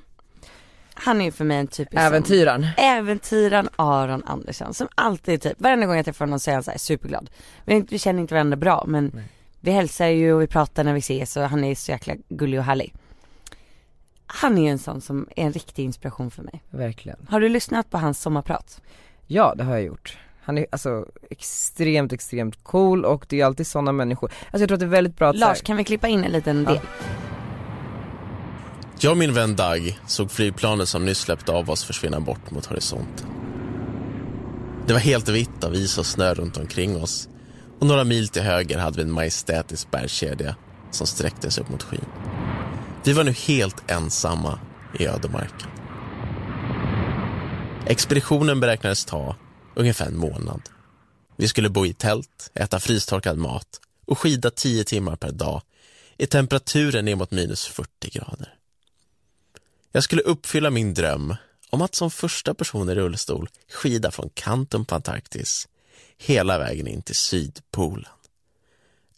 Han är ju för mig en typisk Liksom. sån- Äventyran. Äventyran Aron Andersson som alltid typ, varenda gång jag träffar honom så är han så här superglad. Vi, vi känner inte varandra bra men Nej. vi hälsar ju och vi pratar när vi ses och han är så jäkla gullig och härlig. Han är ju en sån som är en riktig inspiration för mig. Verkligen. Har du lyssnat på hans sommarprat? Ja det har jag gjort. Han är alltså extremt, extremt cool och det är alltid sådana människor. Alltså jag tror att det är väldigt bra att så här- Lars kan vi klippa in en liten Ja. del? Jag och min vän Dag såg flygplanet som nyss släppte av oss försvinna bort mot horisonten. Det var helt vitt av is och snö runt omkring oss och några mil till höger hade vi en majestätisk bergskedja som sträckte sig upp mot skyn. Vi var nu helt ensamma i ödemarken. Expeditionen beräknades ta ungefär en månad. Vi skulle bo i tält, äta frystorkad mat och skida 10 timmar per dag i temperaturer ner mot minus 40 grader. Jag skulle uppfylla min dröm om att som första person i rullstol skida från kanten på Antarktis hela vägen in till Sydpolen.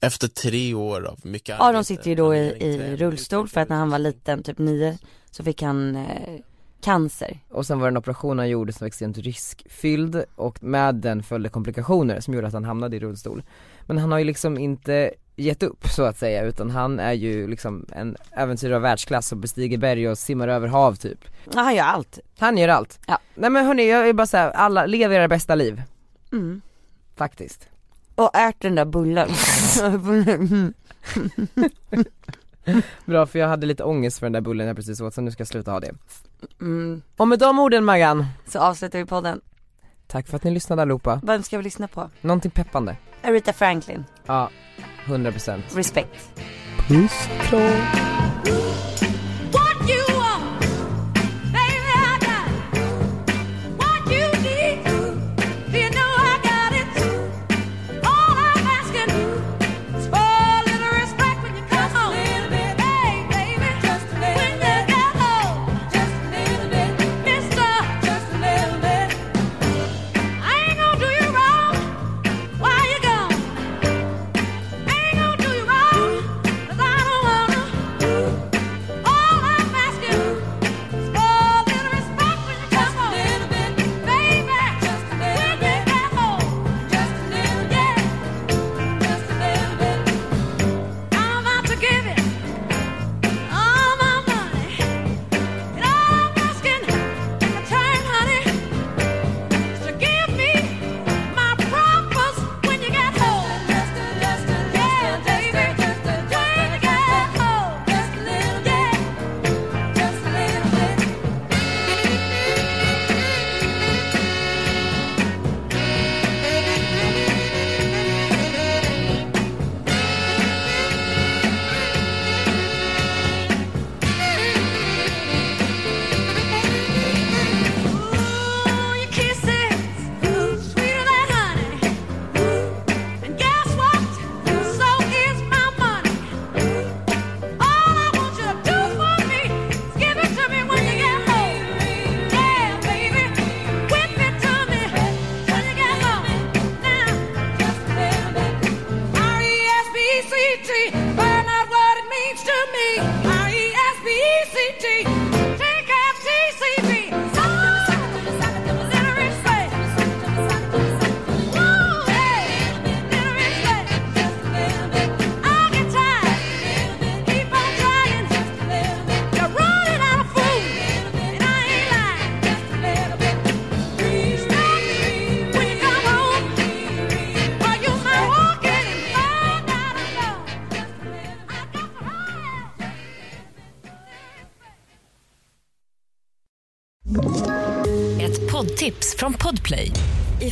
Efter tre år av mycket Aron arbete, sitter ju då i, planering, i träning, rullstol för att när han var liten, typ nio, så fick han eh, cancer. Och sen var det en operation han gjorde som var extremt riskfylld och med den följde komplikationer som gjorde att han hamnade i rullstol. Men han har ju liksom inte gett upp så att säga utan han är ju liksom en äventyrare av världsklass som bestiger berg och simmar över hav typ. Ja, han gör allt. Han gör allt. Ja. Nej men hörni jag är bara såhär, alla, lev era bästa liv. Mm. Faktiskt. Och ät den där bullen. Mm. Bra för jag hade lite ångest för den där bullen jag precis åt så nu ska jag sluta ha det. mm. Och med de orden Maggan, Så avslutar vi podden. tack för att ni lyssnade allihopa. Vem ska vi lyssna på? Någonting peppande. Aretha Franklin, Ja, 100%. Respect. What you want, baby, I got it. What you need, you know I got it too. All I'm asking is for a little respect when you come home. Hey, baby, when you get home. Mister, I ain't gonna do you wrong while you're gone. Ain't gonna do you wrong, 'cause I don't wanna. E E Ett poddtips från Podplay. I